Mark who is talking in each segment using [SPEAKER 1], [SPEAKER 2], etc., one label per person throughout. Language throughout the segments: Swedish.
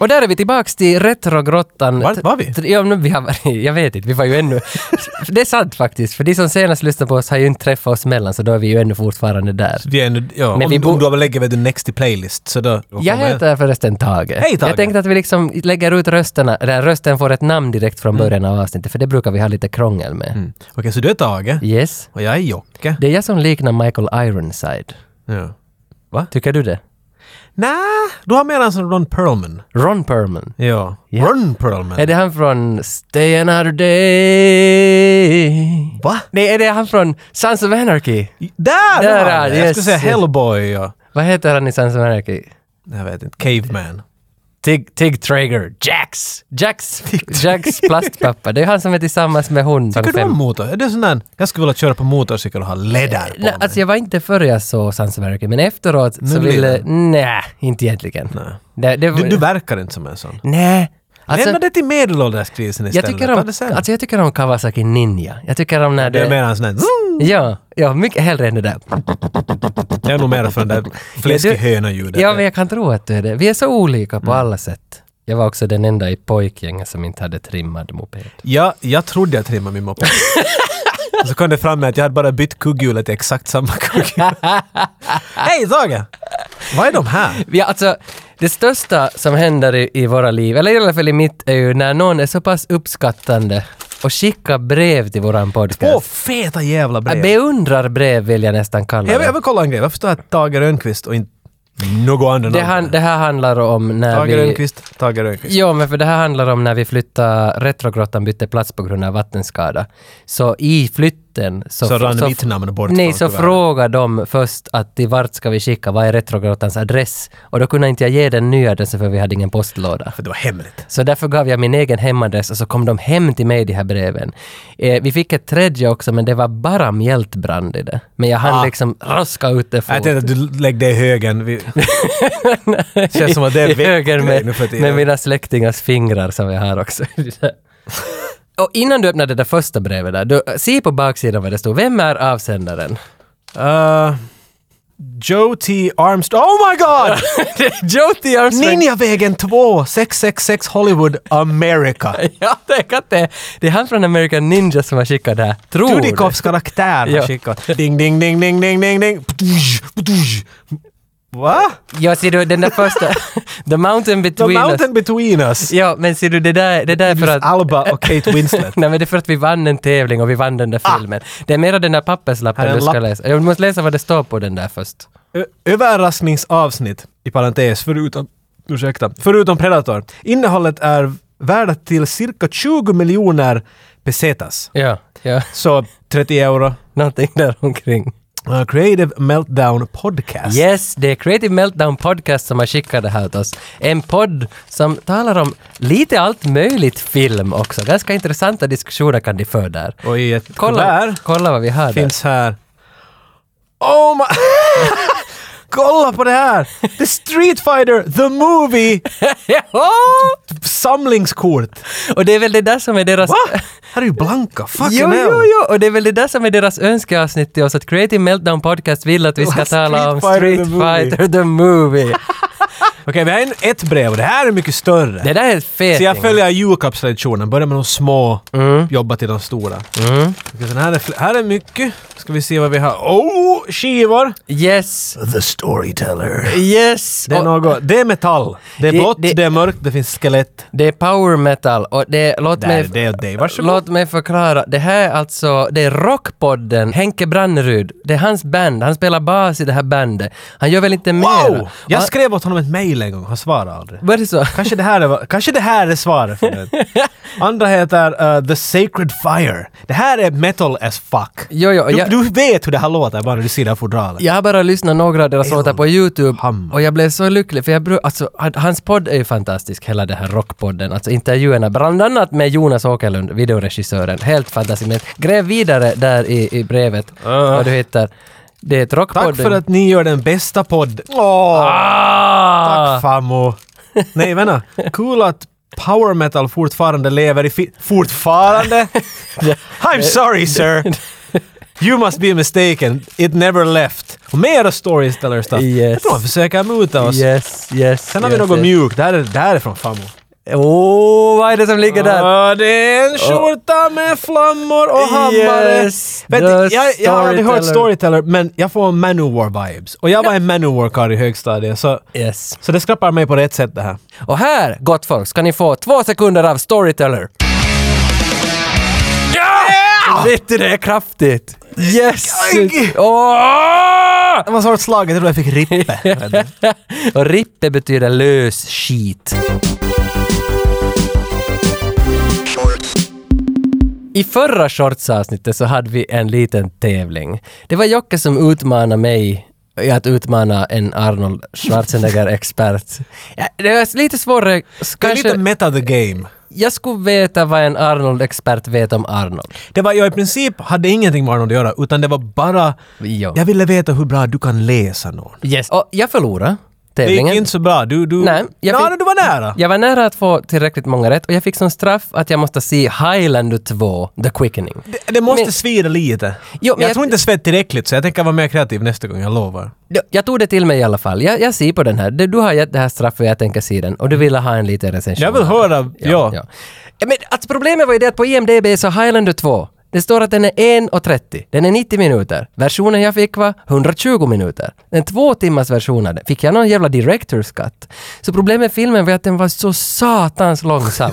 [SPEAKER 1] Och där är vi tillbaks till Retrogrottan.
[SPEAKER 2] Vart var vi?
[SPEAKER 1] T- Ja, men vi har varit, jag vet inte, vi var ju ännu... det är sant faktiskt, för de som senast lyssnade på oss har ju inte träffat oss mellan, så då är vi ju ännu fortfarande där.
[SPEAKER 2] Vi är nu, ja,
[SPEAKER 1] Men
[SPEAKER 2] om,
[SPEAKER 1] vi
[SPEAKER 2] om
[SPEAKER 1] bo-
[SPEAKER 2] du lägger vet du, next i playlist så då... då
[SPEAKER 1] Jag
[SPEAKER 2] kommer-
[SPEAKER 1] heter förresten Tage.
[SPEAKER 2] Hej, Tage.
[SPEAKER 1] Jag tänkte att vi liksom lägger ut rösterna, där rösten får ett namn direkt från början av avsnittet, för det brukar vi ha lite krångel med.
[SPEAKER 2] Mm. Okej, så du är Tage
[SPEAKER 1] Yes.
[SPEAKER 2] och jag är Jocke.
[SPEAKER 1] Det är jag som liknar Michael Ironside.
[SPEAKER 2] Ja.
[SPEAKER 1] Tycker du det?
[SPEAKER 2] Nej, du har mer en som Ron Perlman.
[SPEAKER 1] Ron Perlman.
[SPEAKER 2] Ja.
[SPEAKER 1] Ja.
[SPEAKER 2] Ron Perlman.
[SPEAKER 1] Är det han från Stay Another Day?
[SPEAKER 2] Va?
[SPEAKER 1] Nej, är det han från Sons of Anarchy?
[SPEAKER 2] Där!
[SPEAKER 1] Där
[SPEAKER 2] var
[SPEAKER 1] är
[SPEAKER 2] det.
[SPEAKER 1] det,
[SPEAKER 2] Jag
[SPEAKER 1] yes,
[SPEAKER 2] skulle säga
[SPEAKER 1] yes.
[SPEAKER 2] Hellboy och...
[SPEAKER 1] Vad heter han i Sons of Anarchy?
[SPEAKER 2] Jag vet inte. Caveman.
[SPEAKER 1] Tig, Tig Traeger. Jax! Jax! Jax plastpappa. Det är han som är tillsammans med hon.
[SPEAKER 2] Tycker
[SPEAKER 1] från
[SPEAKER 2] du
[SPEAKER 1] fem-
[SPEAKER 2] om motor? Är det sån där... Jag skulle vilja köra på motorcykel och ha läder på
[SPEAKER 1] Nej,
[SPEAKER 2] mig.
[SPEAKER 1] alltså jag var inte före jag såg Sons of Anarchy, men efteråt så
[SPEAKER 2] blir
[SPEAKER 1] ville...
[SPEAKER 2] det.
[SPEAKER 1] Nej, inte egentligen.
[SPEAKER 2] Nej.
[SPEAKER 1] Det, det,
[SPEAKER 2] du, du verkar inte som en sån.
[SPEAKER 1] nej. Alltså,
[SPEAKER 2] Lämna det till medelålderskrisen
[SPEAKER 1] jag
[SPEAKER 2] istället.
[SPEAKER 1] tycker,
[SPEAKER 2] Ta
[SPEAKER 1] om,
[SPEAKER 2] det sen.
[SPEAKER 1] alltså jag tycker om Kawasaki Ninja. Jag tycker om när
[SPEAKER 2] Du är
[SPEAKER 1] det...
[SPEAKER 2] mer en sån där... "Zoom!"
[SPEAKER 1] Ja, ja, mycket hellre än det där.
[SPEAKER 2] Jag är nog mer för den där fläskhöna-ljudet.
[SPEAKER 1] Ja, men jag kan tro att du är det. Vi är så olika
[SPEAKER 2] Mm.
[SPEAKER 1] på alla sätt. Jag var också den enda i pojkgänget som inte hade trimmad moped.
[SPEAKER 2] Ja, jag trodde jag trimmade min moped. Och så kom det fram med att jag hade bara bytt kugghjulet till exakt samma kugghjul. Hej Tage! Vad är de här?
[SPEAKER 1] Ja, alltså, det största som händer i, i våra liv, eller i alla fall i mitt, är ju när någon är så pass uppskattande och skickar brev till våran podcast.
[SPEAKER 2] Åh, feta jävla brev!
[SPEAKER 1] Jag beundrar brev vill jag nästan kalla
[SPEAKER 2] Jag vill, jag
[SPEAKER 1] det.
[SPEAKER 2] vill kolla en grej. Varför står här Tage Rönnqvist och inte någon annan?
[SPEAKER 1] Det, han, det här handlar om när
[SPEAKER 2] Tage
[SPEAKER 1] vi...
[SPEAKER 2] Rönnqvist, Tage Rönnqvist.
[SPEAKER 1] Jo, men för det här handlar om när vi flyttade, Retrogrottan bytte plats på grund av vattenskada. Så i flytten så...
[SPEAKER 2] Så rann mitt namn bort
[SPEAKER 1] Nej,
[SPEAKER 2] från
[SPEAKER 1] så
[SPEAKER 2] kuvertet.
[SPEAKER 1] frågade de först att till vart ska vi skicka, vad är Retrogrottans adress? Och då kunde inte jag ge den nya adressen för vi hade ingen postlåda.
[SPEAKER 2] För det var hemligt.
[SPEAKER 1] Så därför gav jag min egen hemadress och så kom de hem till mig, de här breven. Eh, vi fick ett tredje också, men det var bara mjältbrand i det. Men jag hann
[SPEAKER 2] Ah.
[SPEAKER 1] liksom raska ut det fort.
[SPEAKER 2] Jag tänkte att du lägger det i högen. Vi... Känns som att det är
[SPEAKER 1] i höger
[SPEAKER 2] veckgrej
[SPEAKER 1] med,
[SPEAKER 2] nu för tiden.
[SPEAKER 1] med mina släktingars fingrar som jag har också. och innan du öppnade det där första brevet där, du, se på baksidan vad det stod. Vem är avsändaren?
[SPEAKER 2] Eh, Joe T. Armstrong. Oh my god!
[SPEAKER 1] Det är Joti Armstrong!
[SPEAKER 2] Ninjavägen 2, 666 Hollywood, America.
[SPEAKER 1] Ja, tänk att det, det är han från American Ninja som har skickat det här. Tror du?
[SPEAKER 2] Dudikoffs karaktär har
[SPEAKER 1] Ja.
[SPEAKER 2] skickat. Ding, ding, ding, ding, ding, ding, ding. Ptush, ptush. Va?
[SPEAKER 1] Ja, ser du, den där första... The Mountain
[SPEAKER 2] The
[SPEAKER 1] Between Us.
[SPEAKER 2] mountain between us.
[SPEAKER 1] Ja, men ser du, det där, det där är för att...
[SPEAKER 2] Alba och Kate Winslet.
[SPEAKER 1] Nej, men det är för att vi vann en tävling och vi vann den där filmen. Det är mera den där
[SPEAKER 2] Ah! Här är
[SPEAKER 1] papperslappen
[SPEAKER 2] en
[SPEAKER 1] du ska
[SPEAKER 2] lapp.
[SPEAKER 1] läsa. Jag måste läsa vad det står på den där först.
[SPEAKER 2] Ö- Överraskningsavsnitt, i parentes, förutom, ursäkta, förutom Predator. Innehållet är värdat till cirka 20 miljoner pesetas.
[SPEAKER 1] Ja, ja.
[SPEAKER 2] Så 30 euro.
[SPEAKER 1] Någonting där omkring.
[SPEAKER 2] Uh, Creative Meltdown Podcast.
[SPEAKER 1] Yes, det är Creative Meltdown Podcast som har skickat det här till oss. En podd som talar om lite allt möjligt film också. Ganska intressanta diskussioner kan de föra där.
[SPEAKER 2] Och i ett
[SPEAKER 1] Kolla,
[SPEAKER 2] kuvert
[SPEAKER 1] kolla vad vi har där.
[SPEAKER 2] finns här. Oh my... Kolla på det här! The Street Fighter, the movie,
[SPEAKER 1] Ja!
[SPEAKER 2] samlingskort.
[SPEAKER 1] och det är väl det där som är deras...
[SPEAKER 2] Va? Här är ju blanka, fucking
[SPEAKER 1] Jo,
[SPEAKER 2] hell.
[SPEAKER 1] jo, jo! Och det är väl det där som är deras önskeavsnitt till oss, att Creative Meltdown Podcast vill att vi ska
[SPEAKER 2] Street
[SPEAKER 1] tala om
[SPEAKER 2] Fighter
[SPEAKER 1] Street
[SPEAKER 2] the Movie.
[SPEAKER 1] Fighter the Movie.
[SPEAKER 2] Okej, vi har en, ett brev och det här är mycket större.
[SPEAKER 1] Det där är fet.
[SPEAKER 2] Så jag
[SPEAKER 1] Ingmar.
[SPEAKER 2] följer julklappstraditionen, börjar med de små, jobba till de stora. Okej, sen här, är, fl- här är mycket. Ska vi se vad vi har. Oh, skivor!
[SPEAKER 1] Yes!
[SPEAKER 2] The Storyteller.
[SPEAKER 1] Yes!
[SPEAKER 2] Det är
[SPEAKER 1] Och-
[SPEAKER 2] något, det är metall. Det är
[SPEAKER 1] Det-
[SPEAKER 2] blått,
[SPEAKER 1] det-
[SPEAKER 2] det är mörkt, det finns skelett.
[SPEAKER 1] Det är power metal och det, låt,
[SPEAKER 2] Där,
[SPEAKER 1] mig,
[SPEAKER 2] det är dig. Varsågod.
[SPEAKER 1] låt mig förklara. Det här är alltså, det är Rockpodden, Henke Brannerud. Det är hans band, han spelar bas i det här bandet. Han gör väl inte
[SPEAKER 2] Wow!
[SPEAKER 1] mer?
[SPEAKER 2] Jag
[SPEAKER 1] Han-
[SPEAKER 2] skrev åt honom ett mejl en gång, han svarade aldrig.
[SPEAKER 1] Var det så?
[SPEAKER 2] Kanske det här är, kanske det här är svaret för det. Andra heter uh, The Sacred Fire. Det här är metal as fuck.
[SPEAKER 1] Jo, jo,
[SPEAKER 2] du,
[SPEAKER 1] jag-
[SPEAKER 2] du vet hur det här låter bara du ser det här fodralet.
[SPEAKER 1] Jag har bara lyssnat några av deras
[SPEAKER 2] Eld.
[SPEAKER 1] låtar på YouTube
[SPEAKER 2] Hammar.
[SPEAKER 1] och jag blev så lycklig för jag bru- alltså, han- hans podd är ju fantastisk, hela den här rockpodden. Alltså intervjuerna, bland annat med Jonas Åkerlund, videoregissören. Helt fantastiskt. Men gräv vidare där i, i brevet vad du hittar. Det är ett
[SPEAKER 2] Tack
[SPEAKER 1] rockpodden.
[SPEAKER 2] för att ni gör den bästa podden. Åh!
[SPEAKER 1] Ah!
[SPEAKER 2] Tack farmor! Nej vänta, cool att power metal fortfarande lever i fi- Fortfarande? I'm sorry sir! You must be mistaken, it never left. Och mera storyteller stuff.
[SPEAKER 1] Yes.
[SPEAKER 2] Jag tror han försöker muta oss.
[SPEAKER 1] Yes, yes.
[SPEAKER 2] Sen har
[SPEAKER 1] yes,
[SPEAKER 2] vi något
[SPEAKER 1] yes.
[SPEAKER 2] mjukt. Där är, där är från Famo.
[SPEAKER 1] Åh, oh, vad är det som ligger där?
[SPEAKER 2] Ja, det är en skjorta med flammor och hammare.
[SPEAKER 1] Yes,
[SPEAKER 2] Vet,
[SPEAKER 1] the
[SPEAKER 2] du, jag, jag har aldrig hört
[SPEAKER 1] storyteller.
[SPEAKER 2] storyteller, men jag får Manowar-vibes. Och jag var en Manowar-karl i högstadiet, så,
[SPEAKER 1] Yes.
[SPEAKER 2] så det skrappar mig på rätt sätt det här.
[SPEAKER 1] Och här, gott folk, ska ni få två sekunder av Storyteller. Ja! Vet du, det är kraftigt. Yes!
[SPEAKER 2] Aj!
[SPEAKER 1] Åh!
[SPEAKER 2] Det var så hårt slaget, jag tror jag fick rippe. Vet du.
[SPEAKER 1] Och rippe betyder lös skit. I förra shortsavsnittet så hade vi en liten tävling. Det var Jocke som utmanade mig i att utmana en Arnold Schwarzenegger-expert. Ja, Det var lite svårare.
[SPEAKER 2] Det är
[SPEAKER 1] kanske-
[SPEAKER 2] lite meta the game.
[SPEAKER 1] jag skulle veta vad en Arnold-expert vet om Arnold.
[SPEAKER 2] Det var, jag i princip hade ingenting med Arnold att göra, utan det var bara...
[SPEAKER 1] Jo.
[SPEAKER 2] Jag ville veta hur bra du kan läsa någon.
[SPEAKER 1] Yes. Och jag förlorade
[SPEAKER 2] Det gick
[SPEAKER 1] tävlingen.
[SPEAKER 2] inte så bra. Du, du...
[SPEAKER 1] Nej, jag
[SPEAKER 2] Nå,
[SPEAKER 1] fick-
[SPEAKER 2] du var nära.
[SPEAKER 1] Jag var nära att få tillräckligt många rätt och jag fick som straff att jag måste se Highlander 2, The Quickening.
[SPEAKER 2] Det, det måste
[SPEAKER 1] Men-
[SPEAKER 2] svida lite.
[SPEAKER 1] Jo, men
[SPEAKER 2] jag,
[SPEAKER 1] jag-
[SPEAKER 2] tror inte svett tillräckligt, så jag tänker vara mer kreativ nästa gång, jag lovar.
[SPEAKER 1] Ja, Jag tog det till mig i alla fall. Jag, jag ser på den här. Du du har gett det här straffet och jag tänker se den. Och du ville ha en liten recension.
[SPEAKER 2] Jag vill höra, ja.
[SPEAKER 1] Ja, Eh, Men att problemet var ju det att på IMDB så Highlander 2, det står att den är 1.30. Den är 90 minuter. Versionen jag fick var 120 minuter. Den två timmars versionen, fick jag någon jävla director's cut? Så problemet med filmen var att den var så satans långsam.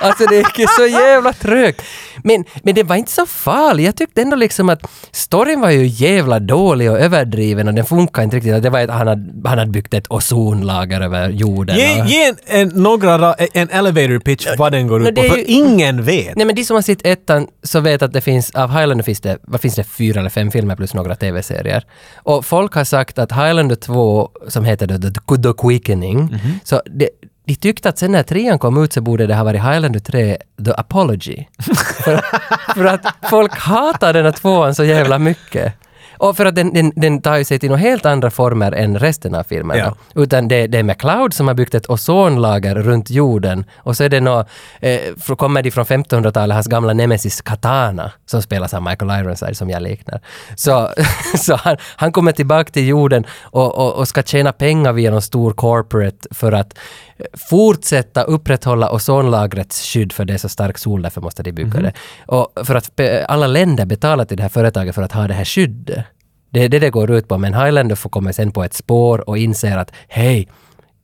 [SPEAKER 1] alltså det gick ju så jävla trögt. Men, men det var inte så farligt. Jag tyckte ändå liksom att storyn var ju jävla dålig och överdriven och den funkar inte riktigt. Det var ett, han, hade, han hade byggt ett ozonlager över jorden.
[SPEAKER 2] Ge,
[SPEAKER 1] och-
[SPEAKER 2] ge en, en, några, ra- en elevator pitch vad den går
[SPEAKER 1] nå,
[SPEAKER 2] ut på,
[SPEAKER 1] det är
[SPEAKER 2] för
[SPEAKER 1] ju-
[SPEAKER 2] ingen vet.
[SPEAKER 1] Nej men de som har sett ettan så vet att det finns, av Highlander finns det, vad finns det, fyra eller fem filmer plus några TV-serier. Och folk har sagt att Highlander 2, som heter The, The, The Quickening,
[SPEAKER 2] Mhm.
[SPEAKER 1] så det, de tyckte att sen när trean kom ut så borde det ha varit Highlander 3, The Apology. för, för att folk hatar den här tvåan så jävla mycket. Och för att den, den, den tar ju sig till några helt andra former än resten av filmerna.
[SPEAKER 2] Ja.
[SPEAKER 1] Utan det, det är McLeod som har byggt ett ozonlager runt jorden och så är det nå, eh, fr- kommer de från 1500-talet, hans gamla nemesis Katana som spelas av Michael Ironside som jag liknar. Så, så han, han kommer tillbaka till jorden och, och, och ska tjäna pengar via någon stor corporate för att eh, fortsätta upprätthålla ozonlagrets skydd för det är så stark sol, därför måste de bygga det. Och för att pe- alla länder betalar till det här företaget för att ha det här skyddet. Det är det det går ut på, men Highlander får komma sen på ett spår och inser att hej,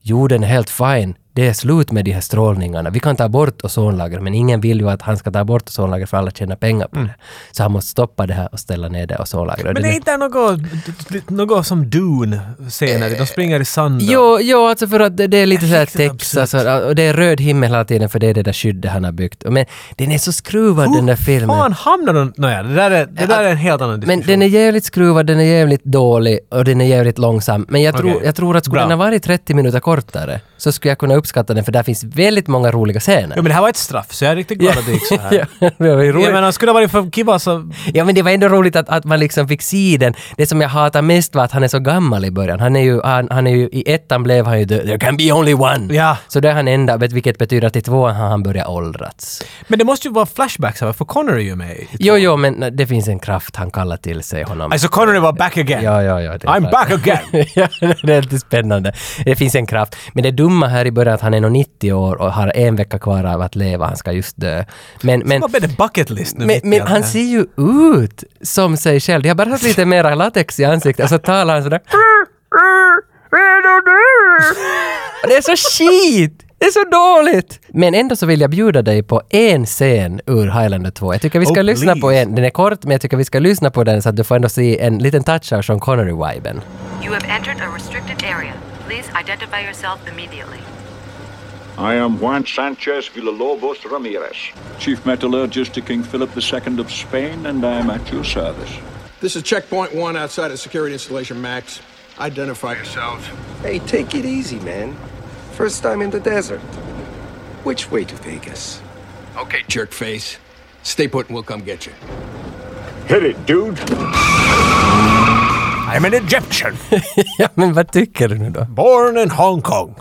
[SPEAKER 1] jorden är helt fine. Det är slut med de här strålningarna. Vi kan ta bort ozonlagret, men ingen vill ju att han ska ta bort ozonlagret för alla tjänar pengar på det. Så han måste stoppa det här och ställa ner det ozonlagret. Och
[SPEAKER 2] Men
[SPEAKER 1] Mm. det-
[SPEAKER 2] det är inte något, något som Dune-scener, de springer i sanden.
[SPEAKER 1] Jo, jo, alltså för att det, det är lite såhär
[SPEAKER 2] Riktigt
[SPEAKER 1] Texas alltså, och, och det är röd himmel hela tiden för det är det där skyddet han har byggt. Men den är så skruvad den där filmen.
[SPEAKER 2] Fan hamnar de... Nåja, det där är, det där är en helt annan diskussion.
[SPEAKER 1] Men den är jävligt skruvad, den är jävligt dålig och den är jävligt långsam. Men jag, tror,
[SPEAKER 2] Okej.
[SPEAKER 1] jag tror att skulle
[SPEAKER 2] Bra.
[SPEAKER 1] den ha varit 30 minuter kortare så skulle jag kunna uppskatta den för där finns väldigt många roliga scener.
[SPEAKER 2] Jo men det här var ett straff, så jag är riktigt glad att det gick så här.
[SPEAKER 1] Ja, det var ju roligt.
[SPEAKER 2] Jag menar, skulle det varit för alltså- Kiva så...
[SPEAKER 1] Ja men det var ändå roligt att, att man liksom fick se den. Det som jag hatar mest var att han är så gammal i början. Han är ju, han, han är ju i ettan blev han ju the, “There can be only one”.
[SPEAKER 2] Ja.
[SPEAKER 1] Så det är han enda, vet- vilket betyder att i tvåan har han börjat åldrats.
[SPEAKER 2] Men det måste ju vara flashbacks här, för Connery är ju med i-
[SPEAKER 1] Jo, jo, men det finns en kraft han kallar till sig honom.
[SPEAKER 2] Alltså Connery var back again.
[SPEAKER 1] Ja, ja, ja. det är
[SPEAKER 2] I'm
[SPEAKER 1] klart.
[SPEAKER 2] back again!
[SPEAKER 1] ja, det är lite spännande. Det finns en kraft. Men det dumma här i början är att han är nog 90 år och har en vecka kvar av att leva. Han ska just dö. Men, men,
[SPEAKER 2] Vad blev det bucket list nu
[SPEAKER 1] men,
[SPEAKER 2] mitt i
[SPEAKER 1] men
[SPEAKER 2] allt
[SPEAKER 1] han
[SPEAKER 2] det här?
[SPEAKER 1] ser ju ut som sig själv. Jag har bara haft lite mera latex i ansiktet och så talar han sådär. Och Det är så skit! Det är så dåligt! Men ändå så vill jag bjuda dig på en scen ur Highlander 2. Jag tycker vi ska
[SPEAKER 2] Oh,
[SPEAKER 1] lyssna på
[SPEAKER 2] please.
[SPEAKER 1] en. Den är kort, men jag tycker vi ska lyssna på den så att du får ändå se en liten touch av Sean Connery-viben.
[SPEAKER 3] You have entered a restricted area. Please identify yourself immediately.
[SPEAKER 4] I am Juan Sanchez Villalobos Ramirez, Chief Metallurgist to King Philip II of Spain, and I am at your service.
[SPEAKER 5] This is checkpoint one outside of security installation Max. Identify yourselves.
[SPEAKER 6] Hey, take it easy, man. First time in the desert. Which way to Vegas?
[SPEAKER 5] Okay, jerk face. Stay put and we'll come get you.
[SPEAKER 4] Hit it, dude!
[SPEAKER 2] I'm an Egyptian,
[SPEAKER 1] ja, men vad tycker du nu då?
[SPEAKER 2] born in Hong Kong.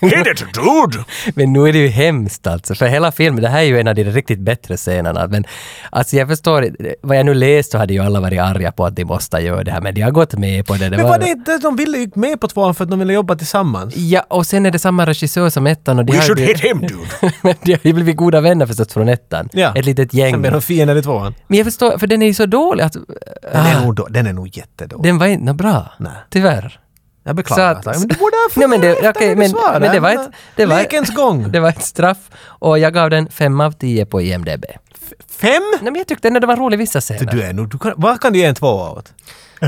[SPEAKER 2] Hit it, dude!
[SPEAKER 1] Men nu är det ju hemskt alltså, för hela filmen, det här är ju en av de riktigt bättre scenerna. Men alltså jag förstår, inte- vad jag nu läst så hade ju alla varit arga på att de måste göra det här, men de har gått med på det. det
[SPEAKER 2] Men var det inte att de ville gick med på tvåan för att de ville jobba tillsammans?
[SPEAKER 1] Ja, och sen är det samma regissör som ettan och de
[SPEAKER 2] We
[SPEAKER 1] har ju
[SPEAKER 2] should hit
[SPEAKER 1] blivit-
[SPEAKER 2] him, dude!
[SPEAKER 1] Men de har ju blivit goda vänner förstås från ettan.
[SPEAKER 2] Ja.
[SPEAKER 1] Ett litet gäng.
[SPEAKER 2] Sen blev de fiender i tvåan.
[SPEAKER 1] Men jag förstår, för den är ju så dålig att... Ah.
[SPEAKER 2] Den är nog, då, den är nog jättedålig.
[SPEAKER 1] Den var inte nå bra.
[SPEAKER 2] Nej.
[SPEAKER 1] Tyvärr.
[SPEAKER 2] Jag beklagar.
[SPEAKER 1] Så att-
[SPEAKER 2] men du borde ha
[SPEAKER 1] Nej, men det-
[SPEAKER 2] funderat
[SPEAKER 1] okej,
[SPEAKER 2] när du
[SPEAKER 1] men-
[SPEAKER 2] svarade.
[SPEAKER 1] men det var ett- det var-
[SPEAKER 2] Lekens gång.
[SPEAKER 1] Det var ett straff och jag gav den 5 av 10 på IMDB.
[SPEAKER 2] Fem?
[SPEAKER 1] Nej men jag tyckte ändå det var rolig vissa scener.
[SPEAKER 2] Du är nog, du kan, vad kan du ge en tvåa åt?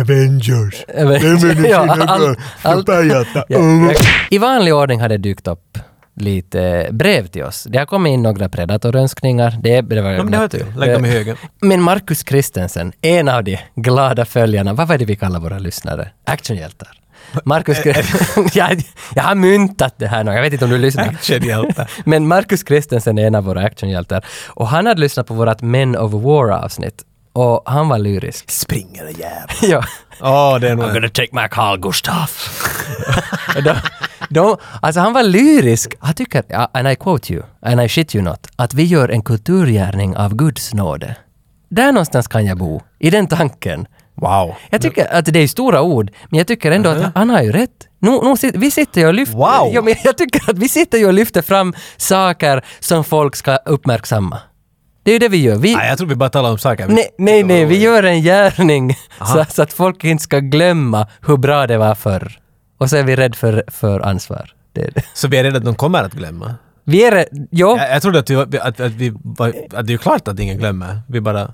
[SPEAKER 7] Avengers.
[SPEAKER 1] Ja, men-
[SPEAKER 7] Avengers
[SPEAKER 1] ja,
[SPEAKER 7] är
[SPEAKER 1] all-
[SPEAKER 7] all,
[SPEAKER 1] all-
[SPEAKER 7] förbäjata.
[SPEAKER 1] Ja, jag- I vanlig ordning har det dykt upp lite eh, brev till oss. Det har kommit in några predatorönskningar. Det, det var Eh,
[SPEAKER 2] Ja, men det hör till. Lägg dem i högen.
[SPEAKER 1] Men Marcus Kristensen, en av de glada följarna, vad var det vi kallar våra lyssnare? Actionhjältar. Marcus
[SPEAKER 2] Eh,
[SPEAKER 1] Kristensen, jag, jag har myntat det här nu, jag vet inte om du lyssnar.
[SPEAKER 2] Actionhjälte.
[SPEAKER 1] Men Marcus Kristensen är en av våra actionhjältar och han hade lyssnat på vårt Men of War-avsnitt och han var lyrisk.
[SPEAKER 2] Springer jävel.
[SPEAKER 1] ja.
[SPEAKER 2] Ja, det är nog...
[SPEAKER 1] I'm gonna take my Carl Gustaf. de, de, alltså han var lyrisk. Han tycker, ja, and I quote you, and I shit you not, att vi gör en kulturgärning av Guds nåde. Där någonstans kan jag bo, i den tanken.
[SPEAKER 2] Wow.
[SPEAKER 1] Jag tycker att det är stora ord, men jag tycker ändå att han har ju rätt. Nu, nu, sit- vi sitter ju och lyfter...
[SPEAKER 2] Wow.
[SPEAKER 1] Ja, men jag tycker att vi sitter ju och lyfter fram saker som folk ska uppmärksamma. Det är ju det vi gör. Vi,
[SPEAKER 2] Nej, jag tror vi bara talar om saker. vi-
[SPEAKER 1] Nej, nej, nej, vi gör en gärning så, så att folk inte ska glömma hur bra det var förr. Och så är vi rädda för, för ansvar. Det, är det.
[SPEAKER 2] Så vi är rädda att de kommer att glömma.
[SPEAKER 1] vi är rädda, jo,
[SPEAKER 2] Jag, jag trodde att, du, att, att vi var, att det är ju klart att ingen glömmer. Vi bara...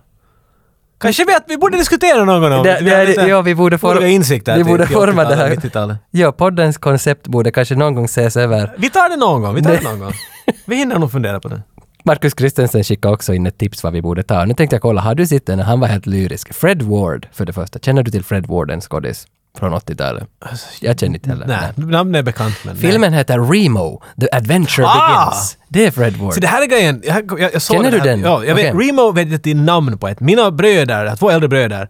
[SPEAKER 2] Kanske vi, att vi borde diskutera någon gång om
[SPEAKER 1] det,
[SPEAKER 2] Vi har
[SPEAKER 1] det,
[SPEAKER 2] lite
[SPEAKER 1] ja, vi borde, form,
[SPEAKER 2] olika insikter
[SPEAKER 1] vi
[SPEAKER 2] till-
[SPEAKER 1] borde
[SPEAKER 2] till
[SPEAKER 1] forma det
[SPEAKER 2] 80-talet,
[SPEAKER 1] här.
[SPEAKER 2] 90-talet.
[SPEAKER 1] Ja, poddens koncept borde kanske någon gång ses över.
[SPEAKER 2] Vi tar det någon gång, vi tar
[SPEAKER 1] Nej.
[SPEAKER 2] det någon gång. Vi hinner nog fundera på det.
[SPEAKER 1] Markus Kristensen skickade också in ett tips vad vi borde ta. Nu tänkte jag kolla, har du sett den? Han var helt lyrisk. Fred Ward, för det första. Känner du till Fred Ward, en skådis från 80-talet? Jag känner inte heller.
[SPEAKER 2] Alltså, Nej,
[SPEAKER 1] Nej.
[SPEAKER 2] namnet är bekant men... nej.
[SPEAKER 1] Filmen heter Remo, The Adventure
[SPEAKER 2] Ah!
[SPEAKER 1] Begins. Det är Fred Ward.
[SPEAKER 2] Så det här är grejen. Jag, jag, jag såg
[SPEAKER 1] Känner
[SPEAKER 2] den
[SPEAKER 1] du
[SPEAKER 2] här,
[SPEAKER 1] den?
[SPEAKER 2] Ja, jag vet,
[SPEAKER 1] Okej.
[SPEAKER 2] Remo vet jag att det är namn på ett. Mina bröder, jag har två äldre bröder,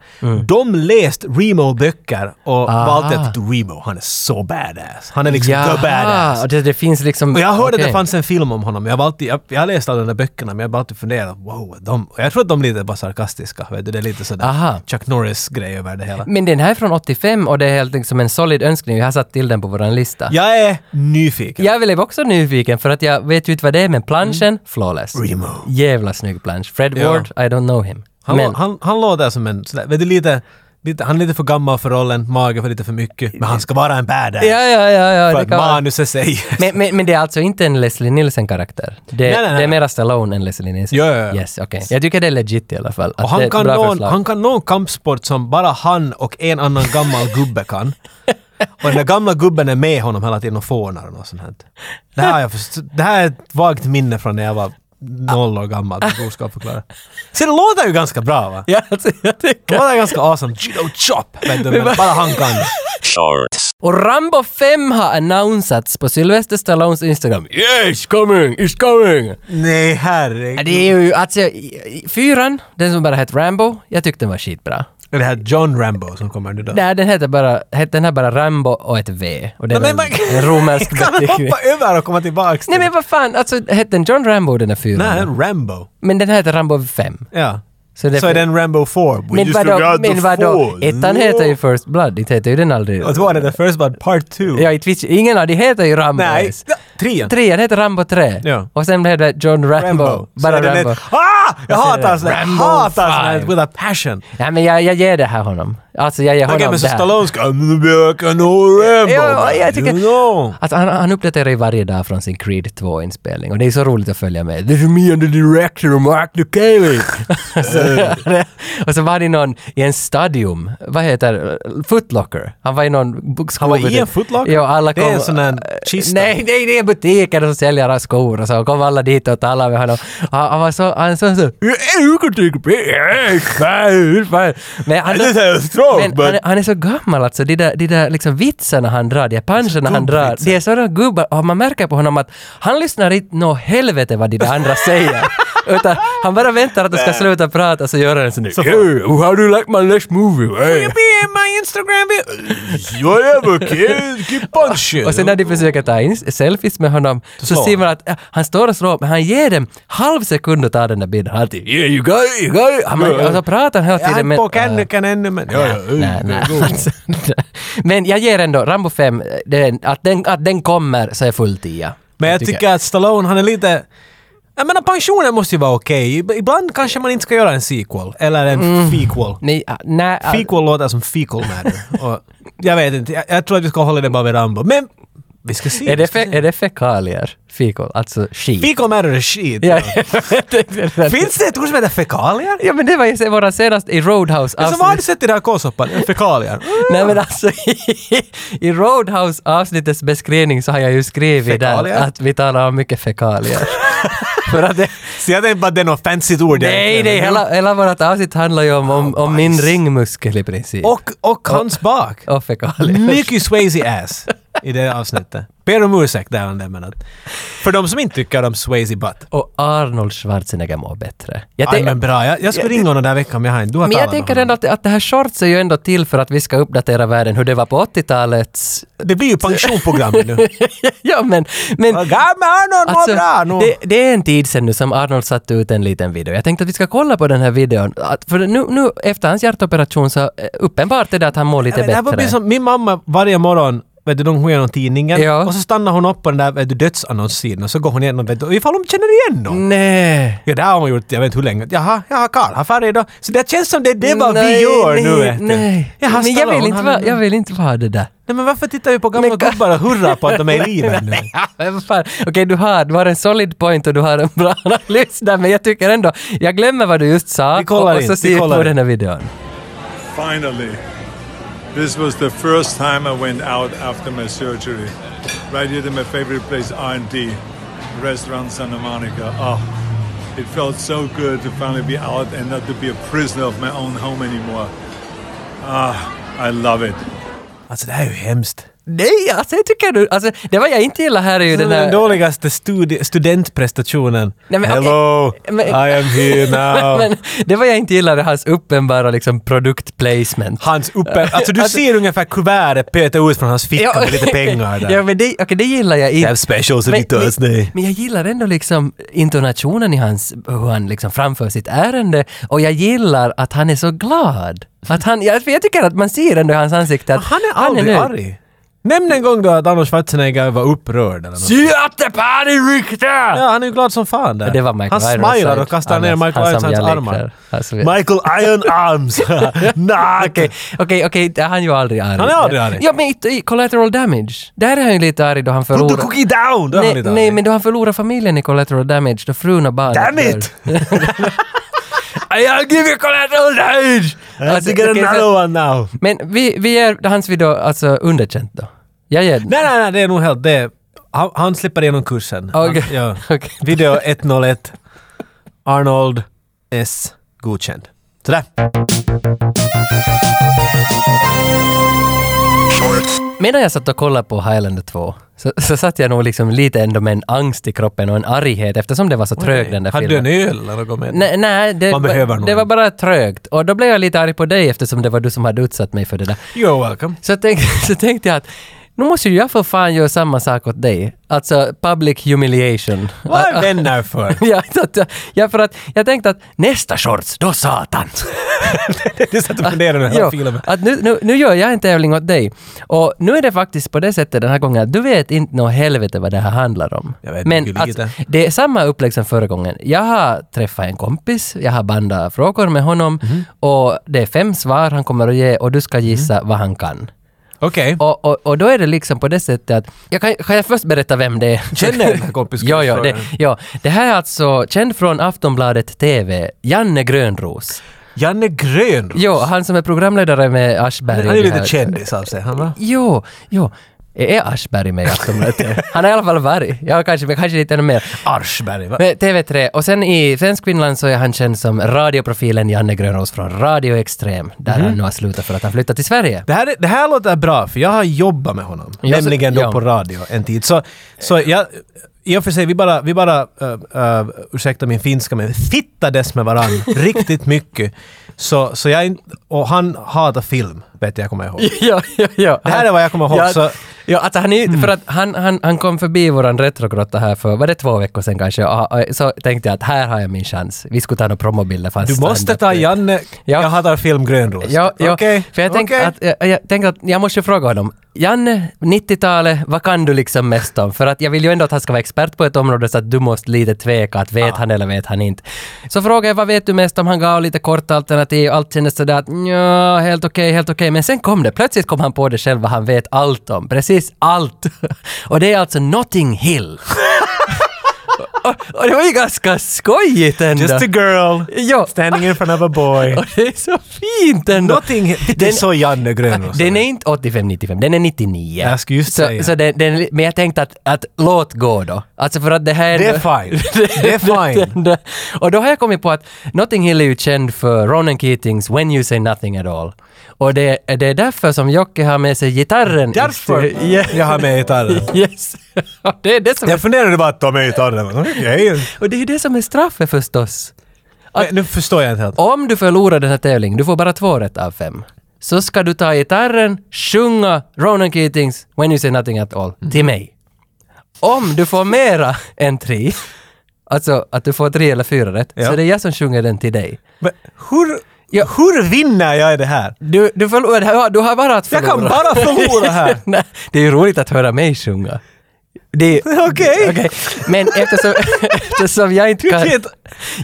[SPEAKER 2] de läst Remo-böcker och
[SPEAKER 1] Mm. Ah.
[SPEAKER 2] valde att Remo, han är så badass. Han är liksom the badass.
[SPEAKER 1] och det, det finns liksom...
[SPEAKER 2] Och jag hörde att
[SPEAKER 1] okej.
[SPEAKER 2] det fanns en film om honom. Jag har alltid, jag, jag har läst alla de där böckerna men jag har bara alltid funderat, wow, de, och jag tror att de är lite bara sarkastiska. Vet du? Det är lite sådär
[SPEAKER 1] Aha.
[SPEAKER 2] Chuck Norris-grej över det hela.
[SPEAKER 1] Men den här är från 85 och det är helt liksom en solid önskning. Jag har satt till den på våran lista.
[SPEAKER 2] Jag är nyfiken.
[SPEAKER 1] Jag blev också nyfiken för att jag vet ju inte vad det är, men planschen, flawless.
[SPEAKER 2] Remo.
[SPEAKER 1] Jävla snygg plansch. Fred
[SPEAKER 2] Mm. Ja.
[SPEAKER 1] Ward, I don't know him.
[SPEAKER 2] Han,
[SPEAKER 1] men,
[SPEAKER 2] han, han låter som en sådär, vet du, lite, lite, han är lite för gammal för rollen, magen för lite för mycket, men han ska vara en badass.
[SPEAKER 1] ja, ja, ja, ja.
[SPEAKER 2] för
[SPEAKER 1] det
[SPEAKER 2] att
[SPEAKER 1] kan vara-
[SPEAKER 2] manuset säger...
[SPEAKER 1] men, men, men det är alltså inte en Leslie Nielsen-karaktär? Det,
[SPEAKER 2] Nej, nej, nej.
[SPEAKER 1] det är mera Stallone än Leslie Nielsen?
[SPEAKER 2] Ja, ja, ja.
[SPEAKER 1] Yes, okej. Jag tycker det är legit i alla fall.
[SPEAKER 2] Och
[SPEAKER 1] att det är
[SPEAKER 2] han
[SPEAKER 1] ett
[SPEAKER 2] kan,
[SPEAKER 1] bra
[SPEAKER 2] någon,
[SPEAKER 1] förslag.
[SPEAKER 2] han kan någon kampsport som bara han och en annan gammal gubbe kan. Och den där gamla gubben är med honom hela tiden och fånar och något sånt här. Det här, har jag först, det här är ett vagt minne från när jag var noll år gammal. Det går ska förklara. Så det låter ju ganska bra va?
[SPEAKER 1] Ja, alltså, jag tycker...
[SPEAKER 2] Det låter ganska awesome. Judo chop! Vet du, men bara han kan.
[SPEAKER 1] Och Rambo 5 har annonsats på Sylvester Stallones Instagram. Yeah, it's coming, it's coming!
[SPEAKER 2] Nej
[SPEAKER 1] Ja,
[SPEAKER 2] herregud.
[SPEAKER 1] Det är ju, alltså, i- i- fyran, den som bara hette Rambo, jag tyckte den var skitbra.
[SPEAKER 2] Är det här John Rambo som kommer nu då?
[SPEAKER 1] Nej, den heter bara, het- den här bara Rambo och ett V. Och det är
[SPEAKER 2] Men
[SPEAKER 1] en,
[SPEAKER 2] man-
[SPEAKER 1] en romersk
[SPEAKER 2] Kan han
[SPEAKER 1] beteckning.
[SPEAKER 2] hoppa över och komma tillbaks till
[SPEAKER 1] Nej men
[SPEAKER 2] det?
[SPEAKER 1] vad fan, alltså hette den John Rambo den här fyran?
[SPEAKER 2] Nej, Rambo.
[SPEAKER 1] Men den här heter Rambo 5.
[SPEAKER 2] Ja.
[SPEAKER 1] Så det-
[SPEAKER 2] Så är den Rambo 4. We
[SPEAKER 1] Men
[SPEAKER 2] just
[SPEAKER 1] vadå,
[SPEAKER 2] forgot the
[SPEAKER 1] men vadå,
[SPEAKER 2] four.
[SPEAKER 1] ettan heter ju First Blood, inte heter ju den aldrig...
[SPEAKER 2] Och tvåan heter First Blood Part 2.
[SPEAKER 1] Ja, inte visst- ingen av de heter ju Rambo
[SPEAKER 2] Nej,
[SPEAKER 1] ens.
[SPEAKER 2] ja, trean.
[SPEAKER 1] Trean heter Rambo 3.
[SPEAKER 2] Ja.
[SPEAKER 1] Och sen blev det John Rambo. Bara
[SPEAKER 2] Så är det
[SPEAKER 1] Rambo.
[SPEAKER 2] Ett, ah! Jag
[SPEAKER 1] ser det.
[SPEAKER 2] hatar sånt
[SPEAKER 1] Rambo
[SPEAKER 2] hatar sånt här
[SPEAKER 1] five.
[SPEAKER 2] with a passion.
[SPEAKER 1] Nej men jag, jag ger det här honom. Alltså jag ger honom
[SPEAKER 2] Okej, men så
[SPEAKER 1] det här.
[SPEAKER 2] Stallone ska... "Mm, Jag kan nå Rambo.
[SPEAKER 1] Ja, jag tycker...
[SPEAKER 2] You know.
[SPEAKER 1] Alltså, han, han uppdaterar ju varje dag från sin Creed 2-inspelning och det är så roligt att följa med. This is me and the director of Mark Ducaley. och så var det någon i en stadion, vad heter Footlocker. Han var i någon bok-
[SPEAKER 2] Han var
[SPEAKER 1] skobutik.
[SPEAKER 2] i en Foot Locker?
[SPEAKER 1] Ja, alla
[SPEAKER 2] Det
[SPEAKER 1] kom... Eh,
[SPEAKER 2] är en sån där kista.
[SPEAKER 1] Nej, nej, det är butiken som säljer skor och så kom alla dit och talade med honom. Han, han var så... Han sa så... "You can take a picture. Yeah, it's fine, it's fine." Men han...
[SPEAKER 2] This is strong,
[SPEAKER 1] Men
[SPEAKER 2] but-
[SPEAKER 1] han, han är så gammal alltså, de där, de där liksom vitsarna han drar, de där puncherna han drar, det är sådana gubbar och man märker på honom att han lyssnar inte nå helvete vad de där andra säger. Utan han bara väntar att de ska sluta prata så gör han en sån där
[SPEAKER 2] Så får-
[SPEAKER 1] "Hey, how do you like my next movie? Hey."
[SPEAKER 2] be in my Instagram video? Whatever kid, keep punching!
[SPEAKER 1] Och sen när de försöker ta in selfies med honom så
[SPEAKER 2] slår
[SPEAKER 1] ser
[SPEAKER 2] han.
[SPEAKER 1] man att äh, han står och slår men han ger dem halv sekund att ta den där bilden. Han alltid “Yeah you got it, you got it”. Han, och så pratar han hela
[SPEAKER 2] Jag
[SPEAKER 1] tiden
[SPEAKER 2] är
[SPEAKER 1] men...
[SPEAKER 2] på kännukan ännu men... Ja, ja,
[SPEAKER 1] Nej, nej,
[SPEAKER 2] ja, ja.
[SPEAKER 1] alltså, men jag ger ändå Rambo 5, eh, den, att, den, att den kommer så är full tia.
[SPEAKER 2] Men jag tycker att Stallone, han är lite... Jag menar pensionen måste ju vara okej. Ib- Ibland kanske man inte ska göra en sequel. Eller en fequel.
[SPEAKER 1] Nej, ah, nej, ah,
[SPEAKER 2] Fequel låter som fecal matter. Och jag vet inte, jag, jag tror att vi ska hålla det bara vid Rambo. Men vi ska se.
[SPEAKER 1] är, det
[SPEAKER 2] vi ska
[SPEAKER 1] fe,
[SPEAKER 2] se.
[SPEAKER 1] är det fekalier? Fikol, alltså skit.
[SPEAKER 2] Fecal matter är skit.
[SPEAKER 1] Ja, jag tänkte-
[SPEAKER 2] Finns det ett ord som heter fekalier?
[SPEAKER 1] Ja men det var ju se- våra senaste i Roadhouse
[SPEAKER 2] Som har du
[SPEAKER 1] avsnitt.
[SPEAKER 2] sett i den här K-soppan? Fekalier.
[SPEAKER 1] Nej men alltså i, i Roadhouse avsnittets beskrivning så har jag ju skrivit
[SPEAKER 2] Fekalier?
[SPEAKER 1] där att vi talar om mycket fekalier. För att det,
[SPEAKER 2] Så jag tänkte bara att det är något fancy ord.
[SPEAKER 1] nej,
[SPEAKER 2] egentligen.
[SPEAKER 1] nej, hela, hela vårt avsnitt handlar ju om, om, om min
[SPEAKER 2] bajs.
[SPEAKER 1] ringmuskel i princip.
[SPEAKER 2] Och, och hans bak.
[SPEAKER 1] och fekalier.
[SPEAKER 2] Mycket Swayze ass i det avsnittet. Ber om ursäkt där om det men att... För de som inte tycker om Swayze butt.
[SPEAKER 1] Och Arnold Schwarzenegger mår bättre. Jag
[SPEAKER 2] Aj,
[SPEAKER 1] tänk-
[SPEAKER 2] men bra, jag, jag skulle ringa honom den här veckan om jag har inte. Du har
[SPEAKER 1] men jag
[SPEAKER 2] talat med
[SPEAKER 1] tänker
[SPEAKER 2] honom.
[SPEAKER 1] ändå att, att det här shorts är ju ändå till för att vi ska uppdatera världen hur det var på 80-talet.
[SPEAKER 2] Det blir ju pensionprogrammet nu.
[SPEAKER 1] ja men... men alltså,
[SPEAKER 2] Gammal Arnold mår bra nu!
[SPEAKER 1] det, det är en tid sedan nu som Arnold satte ut en liten video. Jag tänkte att vi ska kolla på den här videon. Att, för nu, nu efter hans hjärtoperation så eh, uppenbart är det att han mår lite
[SPEAKER 2] Men det här var
[SPEAKER 1] bättre.
[SPEAKER 2] precis som min mamma varje morgon Vet du, de går igenom tidningen
[SPEAKER 1] Ja.
[SPEAKER 2] och så stannar hon upp på den där vet du, dödsannonssidan och så går hon igenom vet du, och ifall de känner igen någon.
[SPEAKER 1] Nej.
[SPEAKER 2] Ja, det har hon gjort jag vet inte hur länge. Jaha, jaha Karl, har färg idag. Så det känns som det är det vad vi
[SPEAKER 1] Nej,
[SPEAKER 2] gör
[SPEAKER 1] nej,
[SPEAKER 2] nu vet du.
[SPEAKER 1] Nej.
[SPEAKER 2] Jaha,
[SPEAKER 1] men jag
[SPEAKER 2] Stallone,
[SPEAKER 1] vill, inte
[SPEAKER 2] han-
[SPEAKER 1] vara, jag vill inte vara det där.
[SPEAKER 2] Nej men varför tittar vi på gamla
[SPEAKER 1] Men Karl-
[SPEAKER 2] gubbar och hurrar på att de är i livet nu?
[SPEAKER 1] Ja, men vad fan. Okej, du har, du har en solid point och du har en bra analys där, men jag tycker ändå, jag glömmer vad du just sa
[SPEAKER 2] Vi kollar
[SPEAKER 1] och, och
[SPEAKER 2] in,
[SPEAKER 1] så
[SPEAKER 2] vi
[SPEAKER 1] ser vi
[SPEAKER 2] kollar
[SPEAKER 1] på
[SPEAKER 2] in.
[SPEAKER 1] den här videon.
[SPEAKER 7] Finally, this was the first time I went out after my surgery. Right here to my favorite place, R&D, restaurant Santa Monica. Oh, it felt so good to finally be out and not to be a prisoner of my own home anymore. Ah, I love it.
[SPEAKER 2] Alltså det här är ju hemskt.
[SPEAKER 1] Nej, alltså jag tycker du, alltså det var jag inte gillar här är ju
[SPEAKER 2] Det är
[SPEAKER 1] den
[SPEAKER 2] den
[SPEAKER 1] här...
[SPEAKER 2] dåligaste studi- studentprestationen.
[SPEAKER 1] Nej, men
[SPEAKER 2] Hello,
[SPEAKER 1] okej. Men-
[SPEAKER 2] I am here now.
[SPEAKER 1] Men det var jag inte gillade, hans uppenbara liksom produktplacement.
[SPEAKER 2] Hans uppe... Alltså du
[SPEAKER 1] Alltså-
[SPEAKER 2] ser ungefär kuvertet peta ut från hans ficka med lite pengar där.
[SPEAKER 1] ja, men det, okej, det gillar jag
[SPEAKER 2] I
[SPEAKER 1] inte.
[SPEAKER 2] have specials
[SPEAKER 1] Men,
[SPEAKER 2] every
[SPEAKER 1] men,
[SPEAKER 2] Thursday.
[SPEAKER 1] men jag gillar ändå liksom intonationen i hans, hur han liksom framför sitt ärende och jag gillar att han är så glad. Att han, jag, för jag tycker att man ser ändå i hans ansikte att
[SPEAKER 2] Han är aldrig
[SPEAKER 1] nöjd.
[SPEAKER 2] arg. Nämn en gång då att Arnold Schwarzenegger var upprörd eller något.
[SPEAKER 1] Sy att det party ryktar!
[SPEAKER 2] Ja, han är ju glad som fan där.
[SPEAKER 1] Det var Michael
[SPEAKER 2] han
[SPEAKER 1] Ironside.
[SPEAKER 2] smilar och kastar ner
[SPEAKER 1] Annars-
[SPEAKER 2] Michael
[SPEAKER 1] han som
[SPEAKER 2] Ironsides
[SPEAKER 1] jag liknar.
[SPEAKER 2] armar.
[SPEAKER 1] Alltså, jag-
[SPEAKER 2] Michael Iron Arms! Nack!
[SPEAKER 1] Okej, okej, okej, han är ju aldrig arg.
[SPEAKER 2] Han är aldrig arg.
[SPEAKER 1] Ja, men i- i Collateral Damage, där är han ju lite arg då han
[SPEAKER 2] Put the
[SPEAKER 1] förlorar...
[SPEAKER 2] cookie down! Då är han
[SPEAKER 1] Nej,
[SPEAKER 2] lite
[SPEAKER 1] nej,
[SPEAKER 2] arg.
[SPEAKER 1] men då han förlorar familjen i Collateral Damage, då frun och barnet
[SPEAKER 2] Damn
[SPEAKER 1] dör.
[SPEAKER 2] it!
[SPEAKER 1] I'll give you Collateral Damage!
[SPEAKER 2] I have to get
[SPEAKER 1] okej, så-
[SPEAKER 2] another one now!
[SPEAKER 1] Men vi, vi ger hans video alltså underkänt då? Jag ger den.
[SPEAKER 2] Nej, nej, nej, det är nog helt det. är- Han, han slipper igenom kursen.
[SPEAKER 1] Ah, Okej.
[SPEAKER 2] Han, ja.
[SPEAKER 1] Okej.
[SPEAKER 2] Video 101. Arnold S. Godkänd. Sådär.
[SPEAKER 1] Medan jag satt och kollade på Highlander 2 så, så satt jag nog liksom lite ändå med en angst i kroppen och en arghet eftersom det var så trög den där
[SPEAKER 2] Hade du
[SPEAKER 1] filmen.
[SPEAKER 2] en öl eller något med?
[SPEAKER 1] Nej, nej det,
[SPEAKER 2] Man
[SPEAKER 1] var-
[SPEAKER 2] behöver nog
[SPEAKER 1] det
[SPEAKER 2] en.
[SPEAKER 1] var bara trögt. Och då blev jag lite arg på dig eftersom det var du som hade utsatt mig för det där.
[SPEAKER 2] You're welcome.
[SPEAKER 1] Så, jag tänk, så tänkte jag att nu måste ju jag för fan göra samma sak åt dig. Alltså public humiliation.
[SPEAKER 2] Vad är vänner för?
[SPEAKER 1] Ja, så att jag- ja, för att jag tänkte att nästa shorts, då satan!
[SPEAKER 2] Du satt och funderade över hela
[SPEAKER 1] Jo,
[SPEAKER 2] filmen.
[SPEAKER 1] att nu, nu, nu gör jag en tävling åt dig. Och nu är det faktiskt på det sättet den här gången att du vet inte nå helvete vad det här handlar om.
[SPEAKER 2] Jag vet
[SPEAKER 1] Men
[SPEAKER 2] mycket
[SPEAKER 1] alltså,
[SPEAKER 2] lite.
[SPEAKER 1] det är samma upplägg som förra gången. Jag har träffat en kompis, jag har bandat frågor med honom
[SPEAKER 2] Mhm.
[SPEAKER 1] och det är fem svar han kommer att ge och du ska gissa
[SPEAKER 2] Mhm.
[SPEAKER 1] vad han kan.
[SPEAKER 2] Okej.
[SPEAKER 1] Och, och, och då är det liksom på det sättet att... Jag kan, kan jag först berätta vem det är?
[SPEAKER 2] Känner jag den här kompisen?
[SPEAKER 1] ja, ja, det, ja, det här är alltså känd från Aftonbladet TV, Janne Grönros.
[SPEAKER 2] Janne Grönros.
[SPEAKER 1] Jo, han som är programledare med Aschberg. i
[SPEAKER 2] Han är ju
[SPEAKER 1] det
[SPEAKER 2] lite
[SPEAKER 1] här.
[SPEAKER 2] kändis av sig. Han va?
[SPEAKER 1] Jo, jo. Är Aschberg med i Aftonbladet? TV? han har i alla fall varit. Ja, kanske, men kanske lite ännu mer.
[SPEAKER 2] Aschberg va?
[SPEAKER 1] Men TV3. Och sen i Svenskfinland så är han känd som radioprofilen Janne Grönros från Radio Extrem, där han nu har slutat för att han flyttat till Sverige.
[SPEAKER 2] Det här, är- det här låter bra, för jag har jobbat med honom.
[SPEAKER 1] Ja, så-
[SPEAKER 2] nämligen då
[SPEAKER 1] ja.
[SPEAKER 2] på radio en tid. Så, så jag, i och för sig, vi bara, vi bara uh, uh, ursäkta min finska, men fittades med varann riktigt mycket. Så, så jag, är inte- och han hatar film, vet jag, kommer jag ihåg.
[SPEAKER 1] ja, ja, ja.
[SPEAKER 2] Det här är vad jag kommer ihåg,
[SPEAKER 1] Ja,
[SPEAKER 2] så-
[SPEAKER 1] ja, alltså han, är, ju- för att han, han, han kom förbi våran retrogrotta här för, var det två veckor sedan kanske? Och, och, så tänkte jag att här har jag min chans. Vi skulle ta några promobilder fast
[SPEAKER 2] Du måste
[SPEAKER 1] han-
[SPEAKER 2] ta Janne,
[SPEAKER 1] Ja.
[SPEAKER 2] jag hatar film, grönros.
[SPEAKER 1] Ja, ja.
[SPEAKER 2] Okej,
[SPEAKER 1] för jag tänkte
[SPEAKER 2] okej.
[SPEAKER 1] att, jag, jag tänkte att jag måste fråga honom. Janne, 90-talet, vad kan du liksom mest om? För att jag vill ju ändå att han ska vara expert på ett område så att du måste lite tveka att vet han eller vet han inte. Så frågade jag vad vet du mest om? Han gav lite korta alternativ allt kändes sådär att ja, helt okej, helt okej. Men sen kom det, plötsligt kom han på det själv vad han vet allt om. Precis allt. Och det är alltså Notting Hill. och, och det var ju ganska skojigt ändå.
[SPEAKER 2] Just a girl,
[SPEAKER 1] Ja.
[SPEAKER 2] standing in front of a boy.
[SPEAKER 1] Och det är så fint ändå.
[SPEAKER 2] Någonting, det är
[SPEAKER 1] Den-
[SPEAKER 2] så Janne Grönros.
[SPEAKER 1] Äh, Den är inte 85-95, den är 99.
[SPEAKER 2] Jag skulle just
[SPEAKER 1] så,
[SPEAKER 2] säga.
[SPEAKER 1] Så den, den, men jag tänkte att, att låt gå då. Alltså för att det här...
[SPEAKER 2] Det är fine. Det är fine.
[SPEAKER 1] Den- och då har jag kommit på att Notting Hill är ju känd för Ronan Keatings When You Say Nothing At All. Och det, det är därför som Jocke har med sig gitarren. i
[SPEAKER 2] Därför
[SPEAKER 1] stu- Yeah.
[SPEAKER 2] jag har med gitarren.
[SPEAKER 1] Yes. det är det som är,
[SPEAKER 2] Jag funderade bara att ta med gitarren. Okej.
[SPEAKER 1] och det är ju det som är straffet förstås.
[SPEAKER 2] Men Nu förstår jag inte helt.
[SPEAKER 1] Om du förlorar den här tävlingen, du får bara två rätt av fem, så ska du ta gitarren, sjunga Ronan Keatings When You Say Nothing At All till
[SPEAKER 2] Mm.
[SPEAKER 1] mig. Om du får mera än tre, alltså att du får tre eller fyra rätt,
[SPEAKER 2] Ja.
[SPEAKER 1] så det är jag som sjunger den till dig.
[SPEAKER 2] Men hur,
[SPEAKER 1] Ja.
[SPEAKER 2] hur vinner jag det här?
[SPEAKER 1] Du, du, förlorar, du har bara att
[SPEAKER 2] Jag
[SPEAKER 1] förlora.
[SPEAKER 2] kan bara förlora här.
[SPEAKER 1] Nej, det är ju roligt att höra mig sjunga. Det-
[SPEAKER 2] Okej.
[SPEAKER 1] Okej. Men eftersom, eftersom jag inte kan...
[SPEAKER 2] Vilket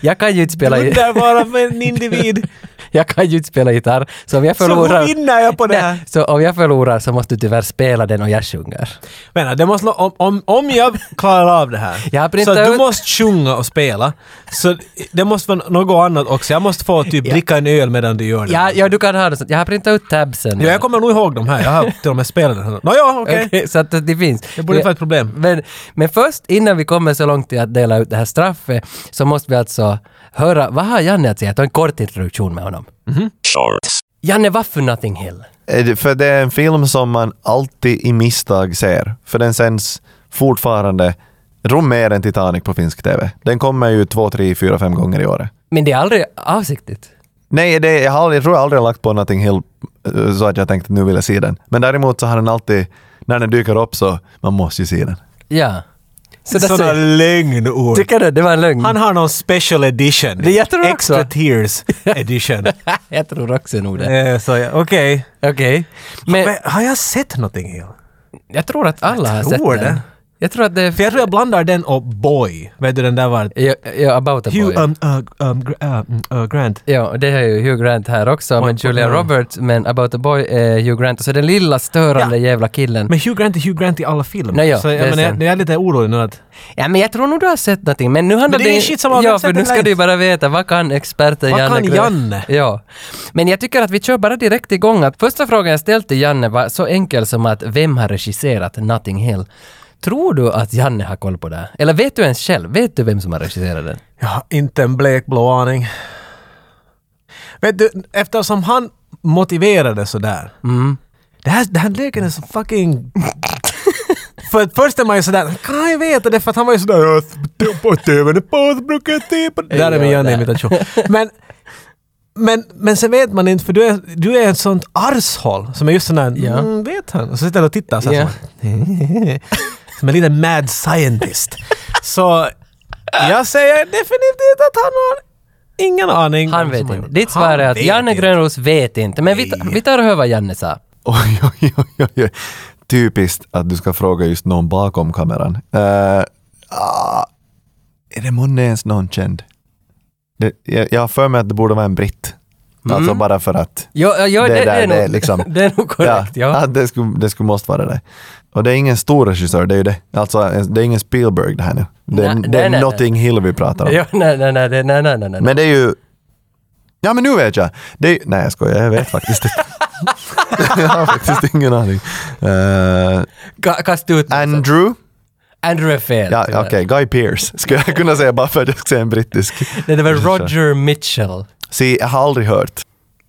[SPEAKER 1] Jag kan ju inte spela...
[SPEAKER 2] underbara men individ.
[SPEAKER 1] Jag kan ju inte spela gitarr, så om jag
[SPEAKER 2] Så
[SPEAKER 1] förlorar...
[SPEAKER 2] hur vinner jag på det här?
[SPEAKER 1] Nej, så om jag förlorar så måste du tyvärr spela den och jag sjunger.
[SPEAKER 2] Men det måste, om, om, om jag klarar av det här,
[SPEAKER 1] Jag har
[SPEAKER 2] så
[SPEAKER 1] printat
[SPEAKER 2] att du
[SPEAKER 1] ut-
[SPEAKER 2] måste sjunga och spela. Så det måste vara något annat också. Jag måste få typ dricka en öl medan du gör det.
[SPEAKER 1] Ja, ja du kan ha det sånt. Jag har printat ut tabsen.
[SPEAKER 2] Ja, jag kommer nog ihåg de här. Jag har till och med spelat den här. Nåja, okej.
[SPEAKER 1] Okej, så att det finns.
[SPEAKER 2] Det borde inte vara ett problem.
[SPEAKER 1] Men, men först, innan vi kommer så långt till att dela ut det här straffet, så måste vi alltså höra, vad har Janne att säga? Ta en kort introduktion med honom.
[SPEAKER 2] Mhm.
[SPEAKER 1] Janne, varför Nothing Hill?
[SPEAKER 8] Eh, det- För det är en film som man alltid i misstag ser. För den sänds fortfarande rum mer än Titanic på finsk TV. Den kommer ju två, tre, fyra, fem gånger i året.
[SPEAKER 1] Men det är aldrig avsiktligt.
[SPEAKER 8] Nej, det, jag, har, aldrig- jag tror jag aldrig har lagt på Nothing Hill eh, så att jag tänkte nu vill jag se den. Men däremot så har den alltid, när den dyker upp så man måste ju se den.
[SPEAKER 1] Ja. Så där
[SPEAKER 2] Sådana
[SPEAKER 1] ser-
[SPEAKER 2] lögnord.
[SPEAKER 1] Tycker du? Det var en lögn.
[SPEAKER 2] Han har någon special edition.
[SPEAKER 1] Det jag tror också.
[SPEAKER 2] Extra tears edition.
[SPEAKER 1] jag tror också nog det.
[SPEAKER 2] Eh, så jag- Okej.
[SPEAKER 1] Okej. Men,
[SPEAKER 2] Men har jag sett någonting i
[SPEAKER 1] jag tror att alla har sett
[SPEAKER 2] tror
[SPEAKER 1] den.
[SPEAKER 2] det.
[SPEAKER 1] Jag tror att det
[SPEAKER 2] För
[SPEAKER 1] är...
[SPEAKER 2] jag tror jag blandar den och Boy. Vet du den där var?
[SPEAKER 1] Ja, ja, about a boy.
[SPEAKER 2] Hugh um, uh, um, Gr- uh, mm, uh, Grant.
[SPEAKER 1] Ja, och det är ju Hugh Grant här också, men Julia
[SPEAKER 2] ja.
[SPEAKER 1] Roberts, men About a Boy är Hugh Grant. Och så den lilla störande
[SPEAKER 2] Ja.
[SPEAKER 1] jävla killen.
[SPEAKER 2] Men Hugh Grant är Hugh Grant i alla filmer.
[SPEAKER 1] Nej, ja,
[SPEAKER 2] så
[SPEAKER 1] det är
[SPEAKER 2] jag, men, jag,
[SPEAKER 1] sant.
[SPEAKER 2] jag är lite orolig nu att...
[SPEAKER 1] ja, men jag tror nog du har sett någonting. Men nu handlar
[SPEAKER 2] det är ingen shit som har
[SPEAKER 1] Ja,
[SPEAKER 2] sett
[SPEAKER 1] för
[SPEAKER 2] den
[SPEAKER 1] nu ska
[SPEAKER 2] live.
[SPEAKER 1] du ju bara veta, vad kan experten
[SPEAKER 2] Vad
[SPEAKER 1] Janne
[SPEAKER 2] kan
[SPEAKER 1] Grön-
[SPEAKER 2] Janne?
[SPEAKER 1] Ja. Men jag tycker att vi kör bara direkt igång. Att första frågan jag ställt till Janne var så enkel som att vem har regisserat Nothing Hill? Tror du att Janne har koll på det? här? Eller vet du ens själv? Vet du vem som har regisserat den?
[SPEAKER 2] Jag har inte en blekblå aning. Vet du, eftersom han motiverade sådär. Mm. Det här, den här leken är så fucking... för att först är man ju sådär, kan jag veta det? För att han var ju sådär... "Jag tittar På tvn på så brukar jag titta på... typ." Det där är min
[SPEAKER 1] Ja, där.
[SPEAKER 2] Janne-imitation. Men, men, men sen vet man inte, för du är, du är ett sånt arshåll som är just sån där,
[SPEAKER 1] Ja.
[SPEAKER 2] mm, vet han? Och så sitter han och tittar såhär.
[SPEAKER 1] Ja.
[SPEAKER 2] som- Som en liten mad scientist. så jag säger definitivt att han har ingen aning.
[SPEAKER 1] Han
[SPEAKER 2] om
[SPEAKER 1] vet
[SPEAKER 2] som har
[SPEAKER 1] inte.
[SPEAKER 2] gjort.
[SPEAKER 1] Ditt svar är
[SPEAKER 2] Han
[SPEAKER 1] att
[SPEAKER 2] vet
[SPEAKER 1] Janne
[SPEAKER 2] inte.
[SPEAKER 1] Grönros vet inte. Men vi, ta- vi tar och hör vad Janne sa.
[SPEAKER 8] Oj, oj, oj, oj, oj. Typiskt att du ska fråga just någon bakom kameran. Eh, ah, är det månne ens någon känd? Det, jag, jag har för mig att det borde vara en britt. Alltså bara för att.
[SPEAKER 1] Mm. Ja, ja, ja,
[SPEAKER 8] Det
[SPEAKER 1] det,
[SPEAKER 8] där,
[SPEAKER 1] är nog,
[SPEAKER 8] det är liksom- alltså.
[SPEAKER 1] det är nog korrekt. Ja.
[SPEAKER 8] att det, skulle, det skulle måste vara det. Och det är ingen stor regissör, det är ju det. Alltså, det är ingen Spielberg det här nu. Det är,
[SPEAKER 1] Nej,
[SPEAKER 8] det
[SPEAKER 1] nej,
[SPEAKER 8] är
[SPEAKER 1] nej,
[SPEAKER 8] Notting Hill vi pratar om.
[SPEAKER 1] Ja, nej, nej, nej, nej, nej, nej, nej.
[SPEAKER 8] Men det är ju... Ja men nu vet jag! Det är, nej jag skojar, jag vet faktiskt inte. jag har faktiskt ingen aning. Eh,
[SPEAKER 1] Ka- Kasta ut något sånt.
[SPEAKER 8] Andrew?
[SPEAKER 1] Andrew är fel.
[SPEAKER 8] Ja,
[SPEAKER 1] tyvärr.
[SPEAKER 8] okej. Guy Pearce skulle jag kunna säga bara för att jag ska säga en brittisk.
[SPEAKER 1] Nej, det var Roger Mitchell.
[SPEAKER 8] Se, jag har aldrig hört.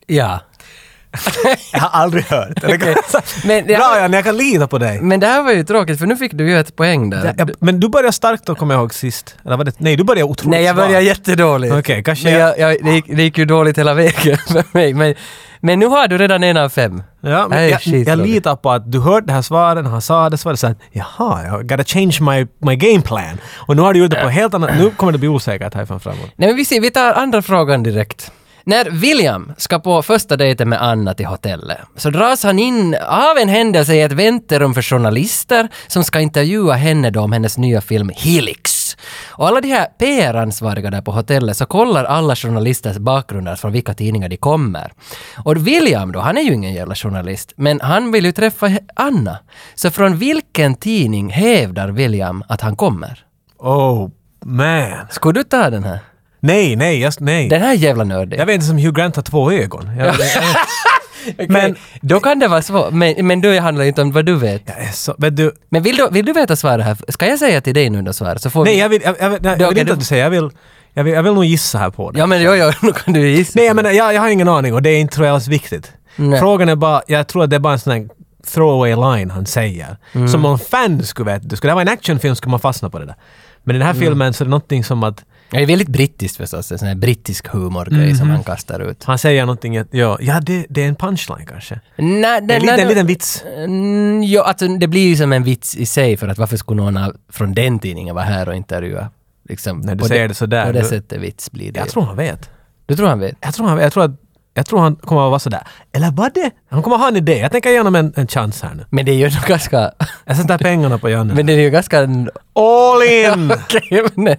[SPEAKER 1] Ja.
[SPEAKER 2] Jag har aldrig hört. Det kan-
[SPEAKER 1] Men det-
[SPEAKER 2] Bra Janne, jag kan lita på dig.
[SPEAKER 1] Men det här var ju tråkigt för nu fick du ju ett poäng där.
[SPEAKER 2] Ja, jag- Men du började starkt då, kommer jag ihåg sist. Eller var det? Nej, du började otroligt
[SPEAKER 1] Nej, jag började
[SPEAKER 2] svagt.
[SPEAKER 1] jättedåligt.
[SPEAKER 2] Okej, kanske
[SPEAKER 1] Men jag, jag, det, gick, det gick ju dåligt hela vägen för mig. Men, men nu har du redan en av fem.
[SPEAKER 2] Ja,
[SPEAKER 1] Det här
[SPEAKER 2] men
[SPEAKER 1] är
[SPEAKER 2] jag, jag
[SPEAKER 1] skittråkigt.
[SPEAKER 2] litar på att du hörde det här svaren, han sa det, så var det såhär jaha, jag gotta change my, my game plan. Och nu har du gjort det på helt annat, nu kommer det bli osäkert härifrån framåt.
[SPEAKER 1] Nej men vi ser, vi tar andra frågan direkt. När William ska på första dejten med Anna till hotellet så dras han in av en händelse i ett väntrum för journalister som ska intervjua henne då om hennes nya film Helix. Och alla de här PR-ansvariga där på hotellet så kollar alla journalisters bakgrunder från vilka tidningar de kommer. Och William då, han är ju ingen jävla journalist, men han vill ju träffa he- Anna. Så från vilken tidning hävdar William att han kommer?
[SPEAKER 2] Oh man.
[SPEAKER 1] Skulle du ta den här?
[SPEAKER 2] Nej, nej, jag, nej.
[SPEAKER 1] Den här är jävla nördig.
[SPEAKER 2] Jag vet inte som Hugh Grant har två ögon. Jag,
[SPEAKER 1] Men då kan det vara svårt, men, men då handlar det inte om vad du vet.
[SPEAKER 2] jag är eh, så, vet du,
[SPEAKER 1] Men vill du, vill du veta svaret här? Ska jag säga till dig nu då svaret? Så får
[SPEAKER 2] nej
[SPEAKER 1] vi...
[SPEAKER 2] jag vill, jag, jag, jag, jag
[SPEAKER 1] Okej,
[SPEAKER 2] vill inte
[SPEAKER 1] du-
[SPEAKER 2] att du säger, jag vill, jag vill, jag vill nog gissa här på det.
[SPEAKER 1] Ja men jo, jo, nu kan du gissa.
[SPEAKER 2] Nej, jag menar, jag, jag har ingen aning och det är inte tror jag alls viktigt.
[SPEAKER 1] Nej.
[SPEAKER 2] Frågan är bara, jag tror att det är bara en sån här throwaway line han säger.
[SPEAKER 1] Mm.
[SPEAKER 2] Som om fan skulle veta. det. Skulle det vara en actionfilm skulle man fastna på det där. Men i den här
[SPEAKER 1] Mm.
[SPEAKER 2] filmen så är det någonting som att
[SPEAKER 1] Det är väldigt brittiskt förstås, en sån här brittisk humorgrej som
[SPEAKER 2] Mhm.
[SPEAKER 1] han kastar ut.
[SPEAKER 2] han säger någonting, att, ja, ja det, det är en punchline kanske.
[SPEAKER 1] Nej,
[SPEAKER 2] Det är en liten, liten vits.
[SPEAKER 1] Mm, jo, alltså det blir ju som en vits i sig för att varför skulle någon av- från den tidningen vara här och intervjua? Liksom,
[SPEAKER 2] När du
[SPEAKER 1] på
[SPEAKER 2] säger det sådär,
[SPEAKER 1] På det
[SPEAKER 2] då-
[SPEAKER 1] sättet vits blir det.
[SPEAKER 2] Jag
[SPEAKER 1] ju.
[SPEAKER 2] tror han vet.
[SPEAKER 1] Du tror han vet?
[SPEAKER 2] Jag tror han, jag tror att jag tror han kommer att vara sådär. Eller vad det? Han kommer ha en idé. Jag tänker ge honom en, en chans här nu.
[SPEAKER 1] Men det är ju nog ganska...
[SPEAKER 2] Jag sätter pengarna på Janne.
[SPEAKER 1] men det är ju ganska...
[SPEAKER 2] All in!
[SPEAKER 1] Okej, men,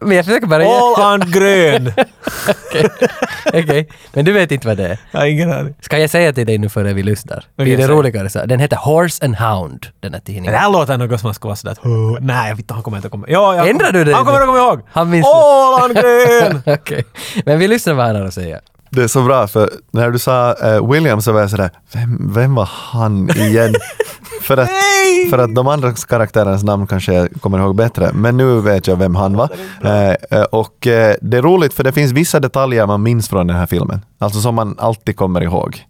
[SPEAKER 1] men jag försöker bara...
[SPEAKER 2] All on grön!
[SPEAKER 1] Okej, men du vet inte vad det är.
[SPEAKER 2] Jag har ingen aning.
[SPEAKER 1] Ska jag säga till dig nu före vi lyssnar?
[SPEAKER 2] Okej,
[SPEAKER 1] Blir det
[SPEAKER 2] säg.
[SPEAKER 1] roligare så? Den heter Horse and Hound, den här tidningen.
[SPEAKER 2] Det här låter något som man ska vara sådär att, "Huh." nej, vet du, han kommer inte komma ja, jag
[SPEAKER 1] Ändrar
[SPEAKER 2] kommer,
[SPEAKER 1] du dig
[SPEAKER 2] Han kommer
[SPEAKER 1] nu?
[SPEAKER 2] att komma ihåg!
[SPEAKER 1] Han minns det.
[SPEAKER 2] All on grön!
[SPEAKER 1] Okej, men vi lyssnar vad han har att säga.
[SPEAKER 8] Det är så bra, för när du sa eh, William så var jag sådär, vem, vem var han igen? för, att, för att de andra karaktärernas namn kanske jag kommer ihåg bättre, men nu vet jag vem han var. Eh, eh, och eh, det är roligt för det finns vissa detaljer man minns från den här filmen, alltså som man alltid kommer ihåg.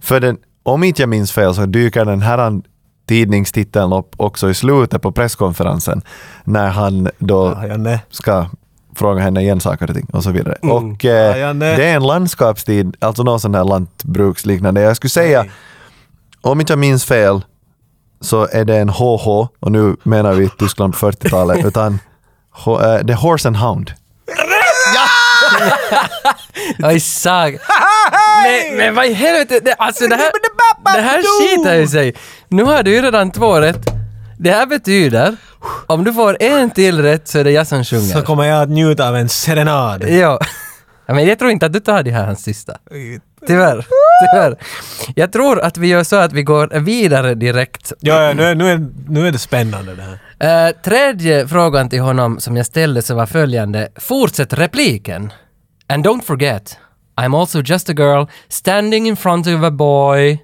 [SPEAKER 8] För den, om inte jag minns fel så dyker den här an- tidningstiteln upp också i slutet på presskonferensen, när han då
[SPEAKER 2] Ja, Janne.
[SPEAKER 8] ska fråga henne igen saker och ting och så vidare. Och eh,
[SPEAKER 2] Mm. Ah, Ja, ja, nej.
[SPEAKER 8] det är en landskapstid, alltså någon sån här lantbruksliknande. Jag skulle säga, om inte jag minns fel, så är det en HH, och nu menar vi Tyskland på 40-talet, utan ho- eh, det är Horse and Hound.
[SPEAKER 1] Oj, sag. Men, men vad i helvete, det, alltså det här, det här skiter ju sig. Nu har du ju redan två rätt. Det här betyder, om du får en till rätt så är det jag som
[SPEAKER 2] Så
[SPEAKER 1] sjunger.
[SPEAKER 2] kommer jag att njuta av en serenad.
[SPEAKER 1] Ja. Ja, Men jag tror inte att du tar det här hans sista. Tyvärr. Tyvärr. Jag tror att vi gör så att vi går vidare direkt
[SPEAKER 2] Ja, ja, nu, är, nu, är, nu är det spännande det här.
[SPEAKER 1] Eh, tredje frågan till honom som jag ställde så var följande. Fortsätt repliken. And don't forget, I'm also just a girl standing in front of a boy.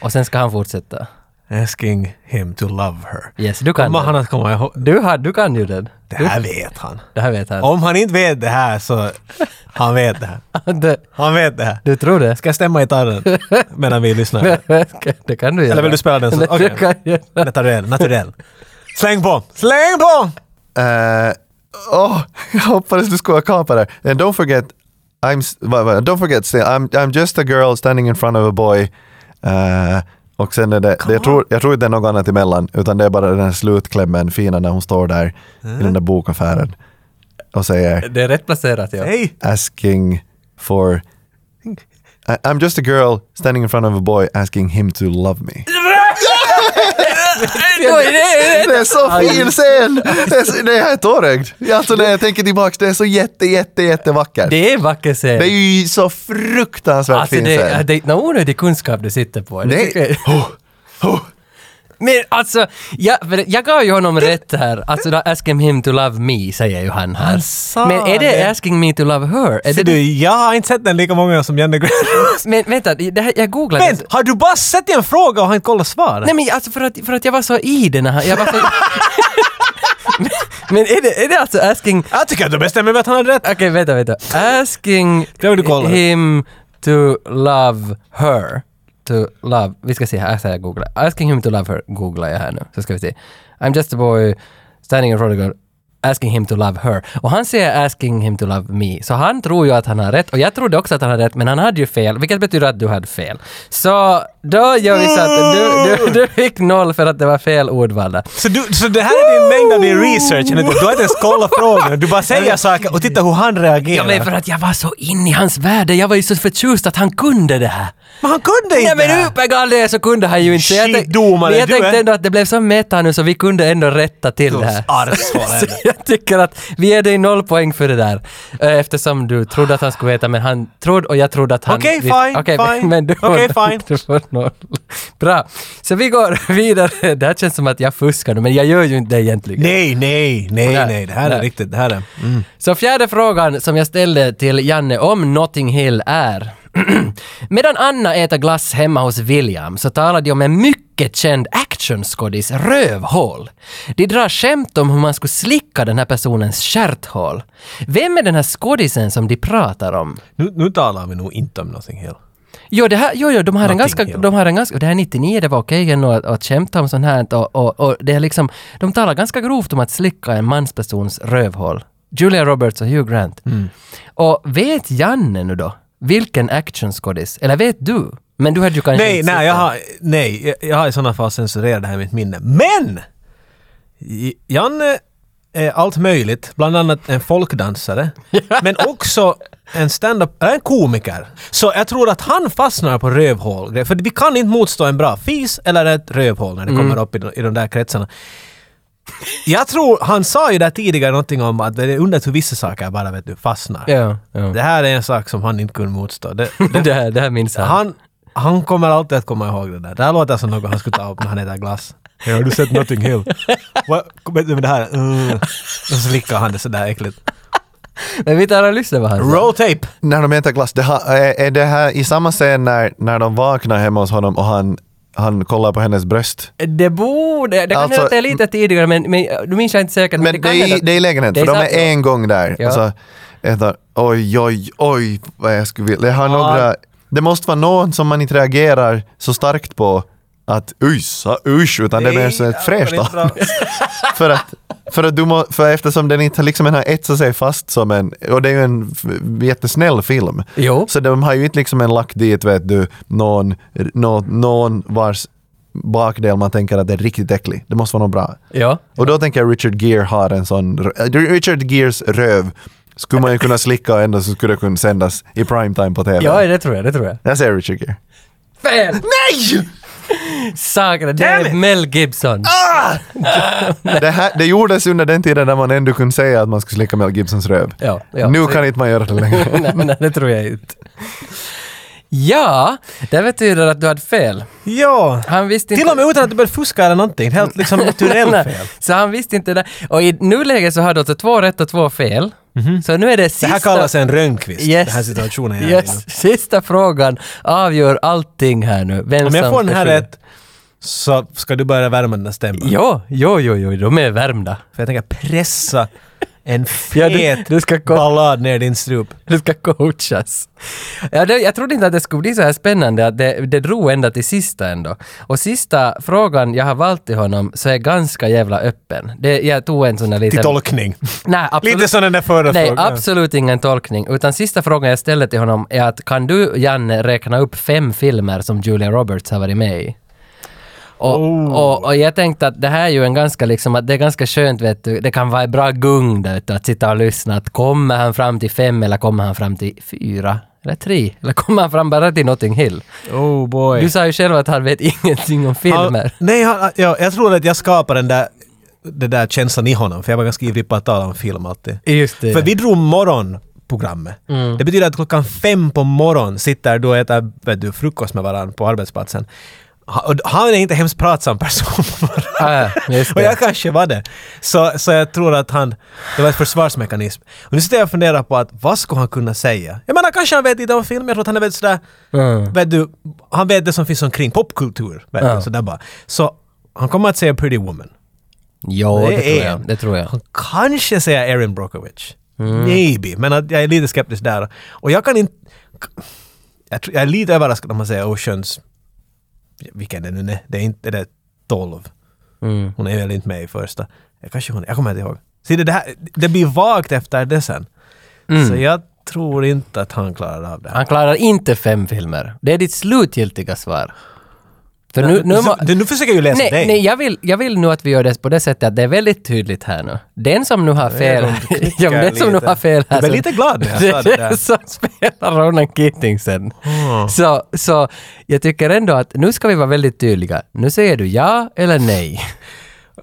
[SPEAKER 1] Och sen ska han fortsätta.
[SPEAKER 2] Asking him to love her.
[SPEAKER 1] Yes, du kan
[SPEAKER 2] Kommer han
[SPEAKER 1] den.
[SPEAKER 2] att komma ihåg?
[SPEAKER 1] Du, har, du kan ju den.
[SPEAKER 2] Det
[SPEAKER 1] Du,
[SPEAKER 2] här vet han.
[SPEAKER 1] det här vet han.
[SPEAKER 2] Om han inte vet det här så, han vet det här.
[SPEAKER 1] du,
[SPEAKER 2] Han vet det här.
[SPEAKER 1] du tror det?
[SPEAKER 2] Ska jag stämma gitarren medan vi lyssnar?
[SPEAKER 1] det kan du göra.
[SPEAKER 2] Eller vill du spela den så?
[SPEAKER 1] Det kan
[SPEAKER 2] Okej.
[SPEAKER 1] jag göra.
[SPEAKER 2] Naturell, naturell. Släng på! Släng på!
[SPEAKER 8] Eh, Åh, jag hoppades du skulle ha kvar på det. här. And don't forget, I'm, s- vad- vad- don't forget, still, I'm, I'm just a girl standing in front of a boy. Eh, och sen är det, det jag, tror, jag tror inte det är något annat emellan, utan det är bara den här slutklämmen, fina när hon står där i den där bokaffären och säger
[SPEAKER 1] Det är rätt placerat, ja.
[SPEAKER 2] Hej!
[SPEAKER 8] asking for I- I'm just a girl standing in front of a boy asking him to love me.
[SPEAKER 1] Oj, det är-
[SPEAKER 8] Det är så fin scen! Det är, så- det är tårögd. Alltså när jag tänker tillbaka, det är så jätte, jätte, jättevackert.
[SPEAKER 1] Det är en vacker scen.
[SPEAKER 8] Det är ju så fruktansvärt
[SPEAKER 1] Alltså
[SPEAKER 8] fin
[SPEAKER 1] det,
[SPEAKER 8] scen.
[SPEAKER 1] det är någon onödig kunskap du sitter på. Det
[SPEAKER 8] Nej.
[SPEAKER 1] tycker jag- Men alltså, jag, för jag gav ju honom rätt här. Alltså, då asking him to love me, säger ju han här.
[SPEAKER 2] sa
[SPEAKER 1] Men är det,
[SPEAKER 2] det.
[SPEAKER 1] asking me to love her? Är
[SPEAKER 2] Ser
[SPEAKER 1] det,
[SPEAKER 2] du, jag har inte sett den lika många som Janne Grönros.
[SPEAKER 1] Men vänta, det här, jag googlade.
[SPEAKER 2] Men har du bara sett en fråga och har inte kollat svaret?
[SPEAKER 1] Nej men alltså för att, för att jag var så i den här. Jag var så... men, men är, det, är det alltså asking...
[SPEAKER 2] jag tycker att du bestämmer mig att han hade rätt.
[SPEAKER 1] Okej, vänta, vänta. Asking
[SPEAKER 2] Det har du kollat.
[SPEAKER 1] him to love her. To love. Vi ska se här, så här googla. Asking him to love her googlar jag här nu. Så ska vi se. I'm just a boy standing in front of a girl asking him to love her. Och han säger asking him to love me. Så han tror ju att han har rätt och jag trodde också att han hade rätt men han hade ju fel, vilket betyder att du hade fel. Så då gör vi så att du, du, du fick noll för att det var fel ordval där.
[SPEAKER 2] Så, du, så det här är din mängd av din research, Anette. Du har inte ens kollat frågorna. Du bara säger saker och titta hur han reagerar.
[SPEAKER 1] Ja men för att jag var så inne i hans värld. Jag var ju så förtjust att han kunde det här.
[SPEAKER 2] Men han kunde inte!
[SPEAKER 1] Nej men uppenbarligen så kunde han ju inte. Så jag tänk-
[SPEAKER 2] Skitdomare,
[SPEAKER 1] men jag
[SPEAKER 2] du
[SPEAKER 1] tänkte
[SPEAKER 2] är-
[SPEAKER 1] ändå att det blev så meta nu så vi kunde ändå rätta till det här.
[SPEAKER 2] Arvshål
[SPEAKER 1] Så jag tycker att vi ger dig noll poäng för det där. Eh, Eftersom du trodde att han skulle veta, men han trodde och jag trodde att han...
[SPEAKER 2] Okej,
[SPEAKER 1] visste.
[SPEAKER 2] fine,
[SPEAKER 1] Okej, men-
[SPEAKER 2] fine.
[SPEAKER 1] Men du får,
[SPEAKER 2] Okej, fine.
[SPEAKER 1] du får noll. Bra. Så vi går vidare. Det här känns som att jag fuskar nu, men jag gör ju inte det egentligen.
[SPEAKER 2] Nej, nej, nej,
[SPEAKER 1] Nej,
[SPEAKER 2] nej. Det här
[SPEAKER 1] nej.
[SPEAKER 2] är riktigt, det här är... Mm.
[SPEAKER 1] Så fjärde frågan som jag ställde till Janne om Notting Hill är Medan Anna äter glass hemma hos William så talar de om en mycket känd actionskådis rövhål. De drar skämt om hur man skulle slicka den här personens stjärthål. Vem är den här skådisen som de pratar om?
[SPEAKER 2] Nu, nu talar vi nog inte om någonting helt.
[SPEAKER 1] Jo, det här, jo, jo de, har en
[SPEAKER 2] Notting
[SPEAKER 1] ganska,
[SPEAKER 2] Hill.
[SPEAKER 1] de har en ganska... Det här är 99, det var okej ändå att, att skämta om sånt här och, och, och det är liksom... De talar ganska grovt om att slicka en manspersons rövhål. Julia Roberts och Hugh Grant.
[SPEAKER 8] Mm.
[SPEAKER 1] Och vet Janne nu då vilken actionskådis? Eller vet du? Men du hade ju kanske
[SPEAKER 2] Nej,
[SPEAKER 1] inte
[SPEAKER 2] nej,
[SPEAKER 1] sett
[SPEAKER 2] jag
[SPEAKER 1] den.
[SPEAKER 2] har, nej, jag- jag har i sådana fall censurerat det här i mitt minne. Men! J- Janne är allt möjligt, bland annat en folkdansare, men också en stand-up, eller en komiker. Så jag tror att han fastnar på rövhål. För vi kan inte motstå en bra fis eller ett rövhål när det
[SPEAKER 1] Mm.
[SPEAKER 2] kommer upp i de, i de där kretsarna. Jag tror, han sa ju där tidigare någonting om att det är underligt hur vissa saker bara vet du fastnar.
[SPEAKER 1] Ja, ja.
[SPEAKER 2] Det här är en sak som han inte kunde motstå. Det, det,
[SPEAKER 1] Det här, det här minns han.
[SPEAKER 2] han, han kommer alltid att komma ihåg det där. Det här låter som något han skulle ta upp när han äter glass. Ja, har du sett Notting Hill? Vad- Vet du med det här? Mm. Och så slickar han det sådär äckligt.
[SPEAKER 1] Men vi tar och lyssnar vad han sa.
[SPEAKER 2] Roll tape!
[SPEAKER 8] När de äter glass, det ha, är är det här i samma scen när, när de vaknar hemma hos honom och han, han kollar på hennes bröst?
[SPEAKER 1] Det borde... Det kan alltså,
[SPEAKER 8] Alltså,
[SPEAKER 1] hända att det är lite tidigare men, men du minns jag inte säkert.
[SPEAKER 8] Men det
[SPEAKER 1] kan
[SPEAKER 8] är,
[SPEAKER 1] hända
[SPEAKER 8] i-
[SPEAKER 1] att-
[SPEAKER 8] det är i lägenheten, för de
[SPEAKER 1] sant.
[SPEAKER 8] är en gång där.
[SPEAKER 1] Ja.
[SPEAKER 8] Och så äter, oj, oj, oj, vad jag skulle vilja. Jag har
[SPEAKER 2] Ja.
[SPEAKER 8] några, det måste vara någon som man inte reagerar så starkt på att usch, ah, usch, utan det behövs ett fräscht namn. för att, för att du må, för eftersom den inte liksom den har etsat sig fast som en, och det är ju en f- jättesnäll film.
[SPEAKER 1] Jo.
[SPEAKER 8] Så de har ju inte liksom en lagt dit vet du, någon, någon, någon vars bakdel man tänker att det är riktigt äcklig. Det måste vara något bra.
[SPEAKER 1] Ja.
[SPEAKER 8] Och då tänker jag Richard Gere har en sån, r- äh, Richard Geres röv skulle man ju kunna slicka och ändå så skulle det kunna sändas i primetime på TV.
[SPEAKER 1] Ja, det tror jag, det tror jag.
[SPEAKER 8] Jag säger Richard Gere.
[SPEAKER 1] Fel! Nej! Sakna, det är Mel Gibson.
[SPEAKER 2] Ah!
[SPEAKER 8] Det, här, det gjordes under den tiden när man ändå kunde säga att man skulle slicka Mel Gibsons röv.
[SPEAKER 1] Ja, ja.
[SPEAKER 8] nu kan inte man göra det längre.
[SPEAKER 1] nej, nej, det tror jag inte. Ja, det betyder att du hade fel.
[SPEAKER 2] Ja.
[SPEAKER 1] Han visste inte...
[SPEAKER 2] Till och med utan att du började fuska eller någonting. Helt liksom naturellt fel.
[SPEAKER 1] Så han visste inte det. Och i nuläget så har du alltså två rätt och två fel. Så nu
[SPEAKER 2] Mhm.
[SPEAKER 1] är det
[SPEAKER 2] Det
[SPEAKER 1] sista...
[SPEAKER 2] här kallas en rönnqvist.
[SPEAKER 1] Yes.
[SPEAKER 2] Den här situationen jag är i nu.
[SPEAKER 1] Yes. Sista frågan avgör allting här nu. Vem
[SPEAKER 2] Om jag
[SPEAKER 1] som
[SPEAKER 2] får den här
[SPEAKER 1] försvinner.
[SPEAKER 2] rätt så ska du börja värma den där stämman.
[SPEAKER 1] Jo, jo, jo, jo, de är värmda.
[SPEAKER 2] För jag tänker pressa en fet
[SPEAKER 1] Ja, du- du ska ko-
[SPEAKER 2] ballad ner din strup.
[SPEAKER 1] Det ska coachas. Ja, det, jag trodde inte att det skulle bli så här spännande, att det, det drog ända till sista ändå. Och sista frågan jag har valt till honom så är ganska jävla öppen. Det, jag tog en sån där
[SPEAKER 2] Till
[SPEAKER 1] liten...
[SPEAKER 2] tolkning.
[SPEAKER 1] Nej, absolut.
[SPEAKER 2] Lite som den där förra
[SPEAKER 1] Nej,
[SPEAKER 2] frågan.
[SPEAKER 1] absolut ingen tolkning. Utan sista frågan jag ställde till honom är att kan du, Janne, räkna upp fem filmer som Julia Roberts har varit med i? Och,
[SPEAKER 2] Oh.
[SPEAKER 1] och, och jag tänkte att det här är ju en ganska liksom, att det är ganska skönt vet du, det kan vara en bra gung där vet du, att sitta och lyssna. Att kommer han fram till fem eller kommer han fram till fyra? Eller tre? Eller kommer han fram bara till Notting Hill?
[SPEAKER 2] Oh boy.
[SPEAKER 1] Du sa ju själv att han vet ingenting om filmer.
[SPEAKER 2] Ja, nej, han, ja, jag tror att jag skapar den där, den där känslan i honom, för jag var ganska ivrig på att tala om film alltid.
[SPEAKER 1] Just det.
[SPEAKER 2] För vi drog morgonprogrammet.
[SPEAKER 1] Mm.
[SPEAKER 2] Det betyder att klockan fem på morgon sitter du och äter vet du, frukost med varandra på arbetsplatsen. Ha- och Han är inte en hemskt pratsam person på morgonen.
[SPEAKER 1] Ah, just
[SPEAKER 2] Och
[SPEAKER 1] det.
[SPEAKER 2] jag kanske var det. Så, så jag tror att han... Det var ett försvarsmekanism. Och nu sitter jag och funderar på att vad skulle han kunna säga? Jag menar, kanske han vet lite om film. Jag tror att han är väldigt sådär...
[SPEAKER 1] Mm.
[SPEAKER 2] Vet du, han vet det som finns omkring. Popkultur. Vet du, sådär bara. Så han kommer att säga Pretty Woman.
[SPEAKER 1] Jo, det,
[SPEAKER 2] Det
[SPEAKER 1] tror
[SPEAKER 2] är-
[SPEAKER 1] jag. Det tror jag. Mm.
[SPEAKER 2] Han kanske säger Erin Brockovich. Maybe. Men att jag är lite skeptisk där. Och jag kan inte... Jag, tror, jag är lite överraskad om man säger Oceans... Vilken det nu är. Det är inte är det 12.
[SPEAKER 1] Mm.
[SPEAKER 2] Hon är väl inte med i första. Jag kanske hon Jag kommer inte ihåg. Se det, det, här, det blir vagt efter det sen.
[SPEAKER 1] Mm.
[SPEAKER 2] Så jag tror inte att han klarar av det här.
[SPEAKER 1] Han klarar inte fem filmer. Det är ditt slutgiltiga svar. För nu, nu,
[SPEAKER 2] Nu,
[SPEAKER 1] är man-
[SPEAKER 2] nu, försöker jag ju läsa
[SPEAKER 1] nej,
[SPEAKER 2] dig.
[SPEAKER 1] nej jag, vill, jag vill nu att vi gör det på det sättet att det är väldigt tydligt här nu. Den som nu har fel, ja, men den som nu
[SPEAKER 2] lite.
[SPEAKER 1] har fel här...
[SPEAKER 2] Du blev lite glad när jag sa det där. Mm.
[SPEAKER 1] som spelar Ronan Keating sen. Så, så jag tycker ändå att nu ska vi vara väldigt tydliga. Nu säger du ja eller nej.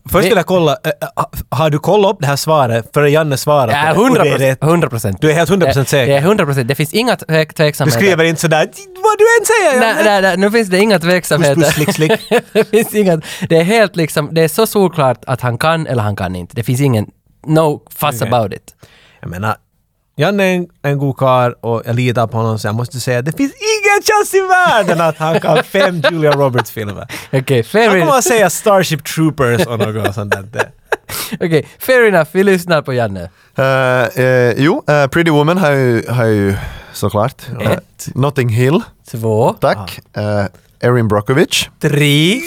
[SPEAKER 2] Först vill jag kolla, eh, eh, har du kollat upp det här svaret före Janne svarar
[SPEAKER 1] Ja,
[SPEAKER 2] på det? Och det är
[SPEAKER 1] 100%.
[SPEAKER 2] rätt.
[SPEAKER 1] 100%.
[SPEAKER 2] Du är helt 100% säker?
[SPEAKER 1] Det är 100%. Det finns inga tve-
[SPEAKER 2] Du
[SPEAKER 1] tveksamheter.
[SPEAKER 2] skriver inte sådär vad du än säger!
[SPEAKER 1] Nej,
[SPEAKER 2] Janne."
[SPEAKER 1] nej, nej, nu finns det inga tveksamheter.
[SPEAKER 2] Puss, puss, slick, slick.
[SPEAKER 1] det finns inga, det är helt liksom, det är så solklart att han kan eller han kan inte. Det finns ingen, no fuss
[SPEAKER 2] Okej.
[SPEAKER 1] about it.
[SPEAKER 2] Jag menar, Janne är en, en god karl och jag litar på honom så jag måste säga det finns ingen chans i världen att han kan fem Julia Roberts-filmer.
[SPEAKER 1] Okej, fair,
[SPEAKER 2] Han kommer
[SPEAKER 1] enough.
[SPEAKER 2] att säga Starship Troopers och något sånt där.
[SPEAKER 1] Okej, fair enough, vi lyssnar på Janne.
[SPEAKER 8] Eh, eh, jo, eh, Pretty Woman har ju, har ju såklart. Eh,
[SPEAKER 1] Ett.
[SPEAKER 8] Notting Hill,
[SPEAKER 1] Två,
[SPEAKER 8] tack. Eh, Erin Brockovich.
[SPEAKER 1] tre,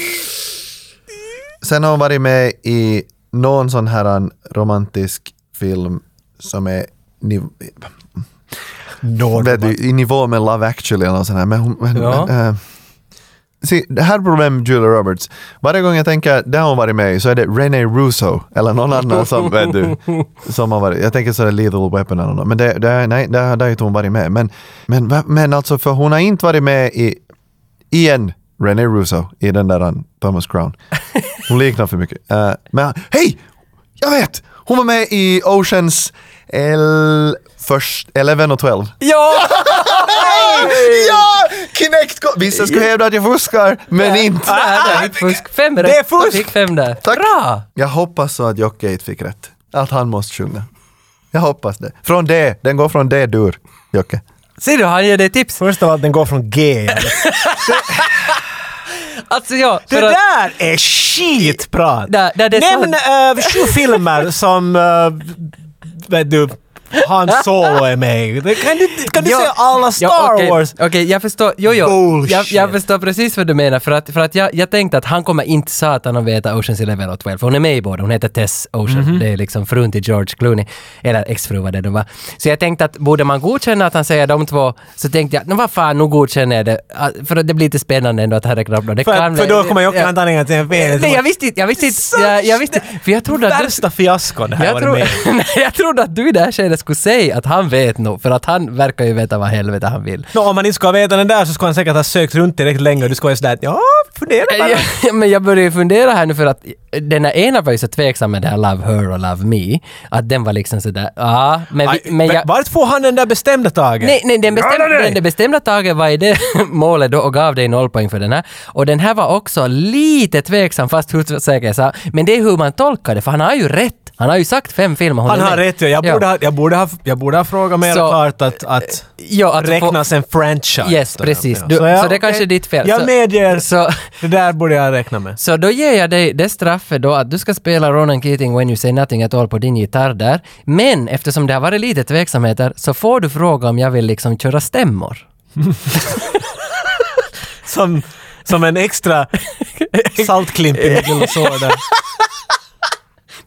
[SPEAKER 8] Sen har hon varit med i någon sån här en romantisk film som är niv- vet du, i nivå med Love actually eller något sånt här. Men, hon- men,
[SPEAKER 1] Ja.
[SPEAKER 8] men, eh, se, det här problemet med Julia Roberts. Varje gång jag tänker det har hon varit med i så är det Rene Russo eller någon annan som, vet du, som har varit. Jag tänker sådär Lethal Weapon eller något. Men det, det, nej, där har- där har inte hon varit med. Men, men, va- men alltså för hon har inte varit med i, igen, Rene Russo i den där han, Thomas Crown. Hon liknar för mycket. Eh, men hej! Jag vet! Hon var med i Oceans el, först, 11 och 12.
[SPEAKER 1] ja!
[SPEAKER 8] Ja! Kinect kom. Vissa skulle hävda att jag fuskar, men inte.
[SPEAKER 1] Ah, det är fusk. Fem rätt.
[SPEAKER 2] Det är fusk!
[SPEAKER 1] Jag fick fem där.
[SPEAKER 8] Tack.
[SPEAKER 1] Bra!
[SPEAKER 8] Jag hoppas så att Jocke inte fick rätt. Att han måste sjunga. Jag hoppas det. Från D. Den går från D-dur, Jocke.
[SPEAKER 1] Ser du, han ger dig tips.
[SPEAKER 2] Först av allt, den går från G.
[SPEAKER 1] Alltså ja,
[SPEAKER 2] Det
[SPEAKER 1] för att-
[SPEAKER 2] där är skitprat!
[SPEAKER 1] Där- där det
[SPEAKER 2] Nämn uh, sju filmer som eh, vet du, Han Solo är med i. Kan du, kan du
[SPEAKER 1] Ja,
[SPEAKER 2] säga alla Star
[SPEAKER 1] ja, okej,
[SPEAKER 2] Wars?
[SPEAKER 1] Okej, jag förstår. Jo, jo.
[SPEAKER 2] Bullshit.
[SPEAKER 1] Jag, jag förstår precis vad du menar. För att, för att jag, jag tänkte att han kommer inte satan att veta Oceans Eleven och 12. För hon är med i båda. Hon heter Tess Ocean.
[SPEAKER 2] Mhm.
[SPEAKER 1] Det är liksom frun till George Clooney. Eller exfru vad det då var. Så jag tänkte att borde man godkänna att han säger de två så tänkte jag, "Nå, vad fan, nu godkänner jag det. Ah, För att det blir lite spännande ändå att herre knappar. Det
[SPEAKER 2] För,
[SPEAKER 1] kan
[SPEAKER 2] för
[SPEAKER 1] väl-
[SPEAKER 2] då kommer Jocke
[SPEAKER 1] Ja.
[SPEAKER 2] antagligen att säga fel.
[SPEAKER 1] Nej, jag visste inte. Jag visste inte. Jag, jag visste, för jag trodde att du...
[SPEAKER 2] Värsta fiaskon det här
[SPEAKER 1] Jag,
[SPEAKER 2] var
[SPEAKER 1] tror,
[SPEAKER 2] med
[SPEAKER 1] nej, jag trodde att du i det här skedet skulle säga att han vet nog, för att han verkar ju veta vad helvete han vill.
[SPEAKER 2] Nå, om man inte ska veta den där så ska han säkert ha sökt runt direkt länge och du ska vara sådär att, ja, fundera bara.
[SPEAKER 1] Ja, men jag börjar ju fundera här nu för att den här ena var ju så tveksam med det här Love Her och Love Me. Att den var liksom sådär, ja, men, vi,
[SPEAKER 2] Aj,
[SPEAKER 1] men jag...
[SPEAKER 2] Vart får han den där bestämda taget?
[SPEAKER 1] Nej, nej, den bestämda,
[SPEAKER 2] Ja, nej, nej.
[SPEAKER 1] Den, det bestämda taget var i det målet då och gav dig noll poäng för den här. Och den här var också lite tveksam fast hur säker jag sa. Men det är hur man tolkar det, för han har ju rätt. Han har ju sagt fem filmer. hon
[SPEAKER 2] Han
[SPEAKER 1] är
[SPEAKER 2] har
[SPEAKER 1] med.
[SPEAKER 2] rätt ju. Jag
[SPEAKER 1] Ja.
[SPEAKER 2] borde, ha, jag, borde ha, jag borde ha frågat mer
[SPEAKER 1] Så-
[SPEAKER 2] klart att, att
[SPEAKER 1] Ja, att få-
[SPEAKER 2] räknas en franchise.
[SPEAKER 1] Yes,
[SPEAKER 2] då.
[SPEAKER 1] precis. Du- så det kanske är ditt fel.
[SPEAKER 2] Jag
[SPEAKER 1] Så-
[SPEAKER 2] medger.
[SPEAKER 1] så-
[SPEAKER 2] Det där borde jag räkna med.
[SPEAKER 1] Så då ger jag dig det straffet då att du ska spela Ronan Keating When You Say Nothing At All på din gitarr där. Men eftersom det har varit lite tveksamheter så får du fråga om jag vill liksom köra stämmor.
[SPEAKER 2] Som, som en extra saltklimp i gulsåren.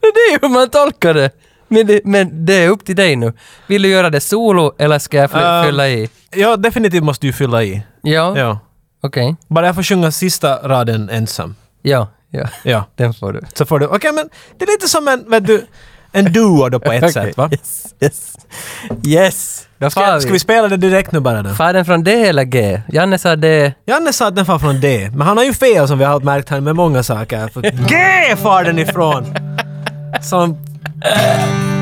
[SPEAKER 1] Men Det är ju hur man tolkar det. Men det, men det är upp till dig nu. Vill du göra det solo eller ska jag fly-
[SPEAKER 2] Um,
[SPEAKER 1] fylla i?
[SPEAKER 2] Ja, definitivt måste du fylla i.
[SPEAKER 1] Ehm. Ja,
[SPEAKER 2] Ja.
[SPEAKER 1] okej.
[SPEAKER 2] Bara jag får sjunga sista raden ensam.
[SPEAKER 1] Ja, ja.
[SPEAKER 2] Ja.
[SPEAKER 1] Den får du.
[SPEAKER 2] Så får du, okej men det är lite som en, vet du, en duo då på ett
[SPEAKER 1] Okej.
[SPEAKER 2] sätt va?
[SPEAKER 1] Yes, yes. Yes! Då
[SPEAKER 2] Ska,
[SPEAKER 1] far
[SPEAKER 2] ska
[SPEAKER 1] vi.
[SPEAKER 2] vi spela det direkt nu bara då?
[SPEAKER 1] Far den från D eller G? Janne sa D.
[SPEAKER 2] Janne sa att den far från D, men han har ju fel som vi har märkt här med många saker. För G far den ifrån! Som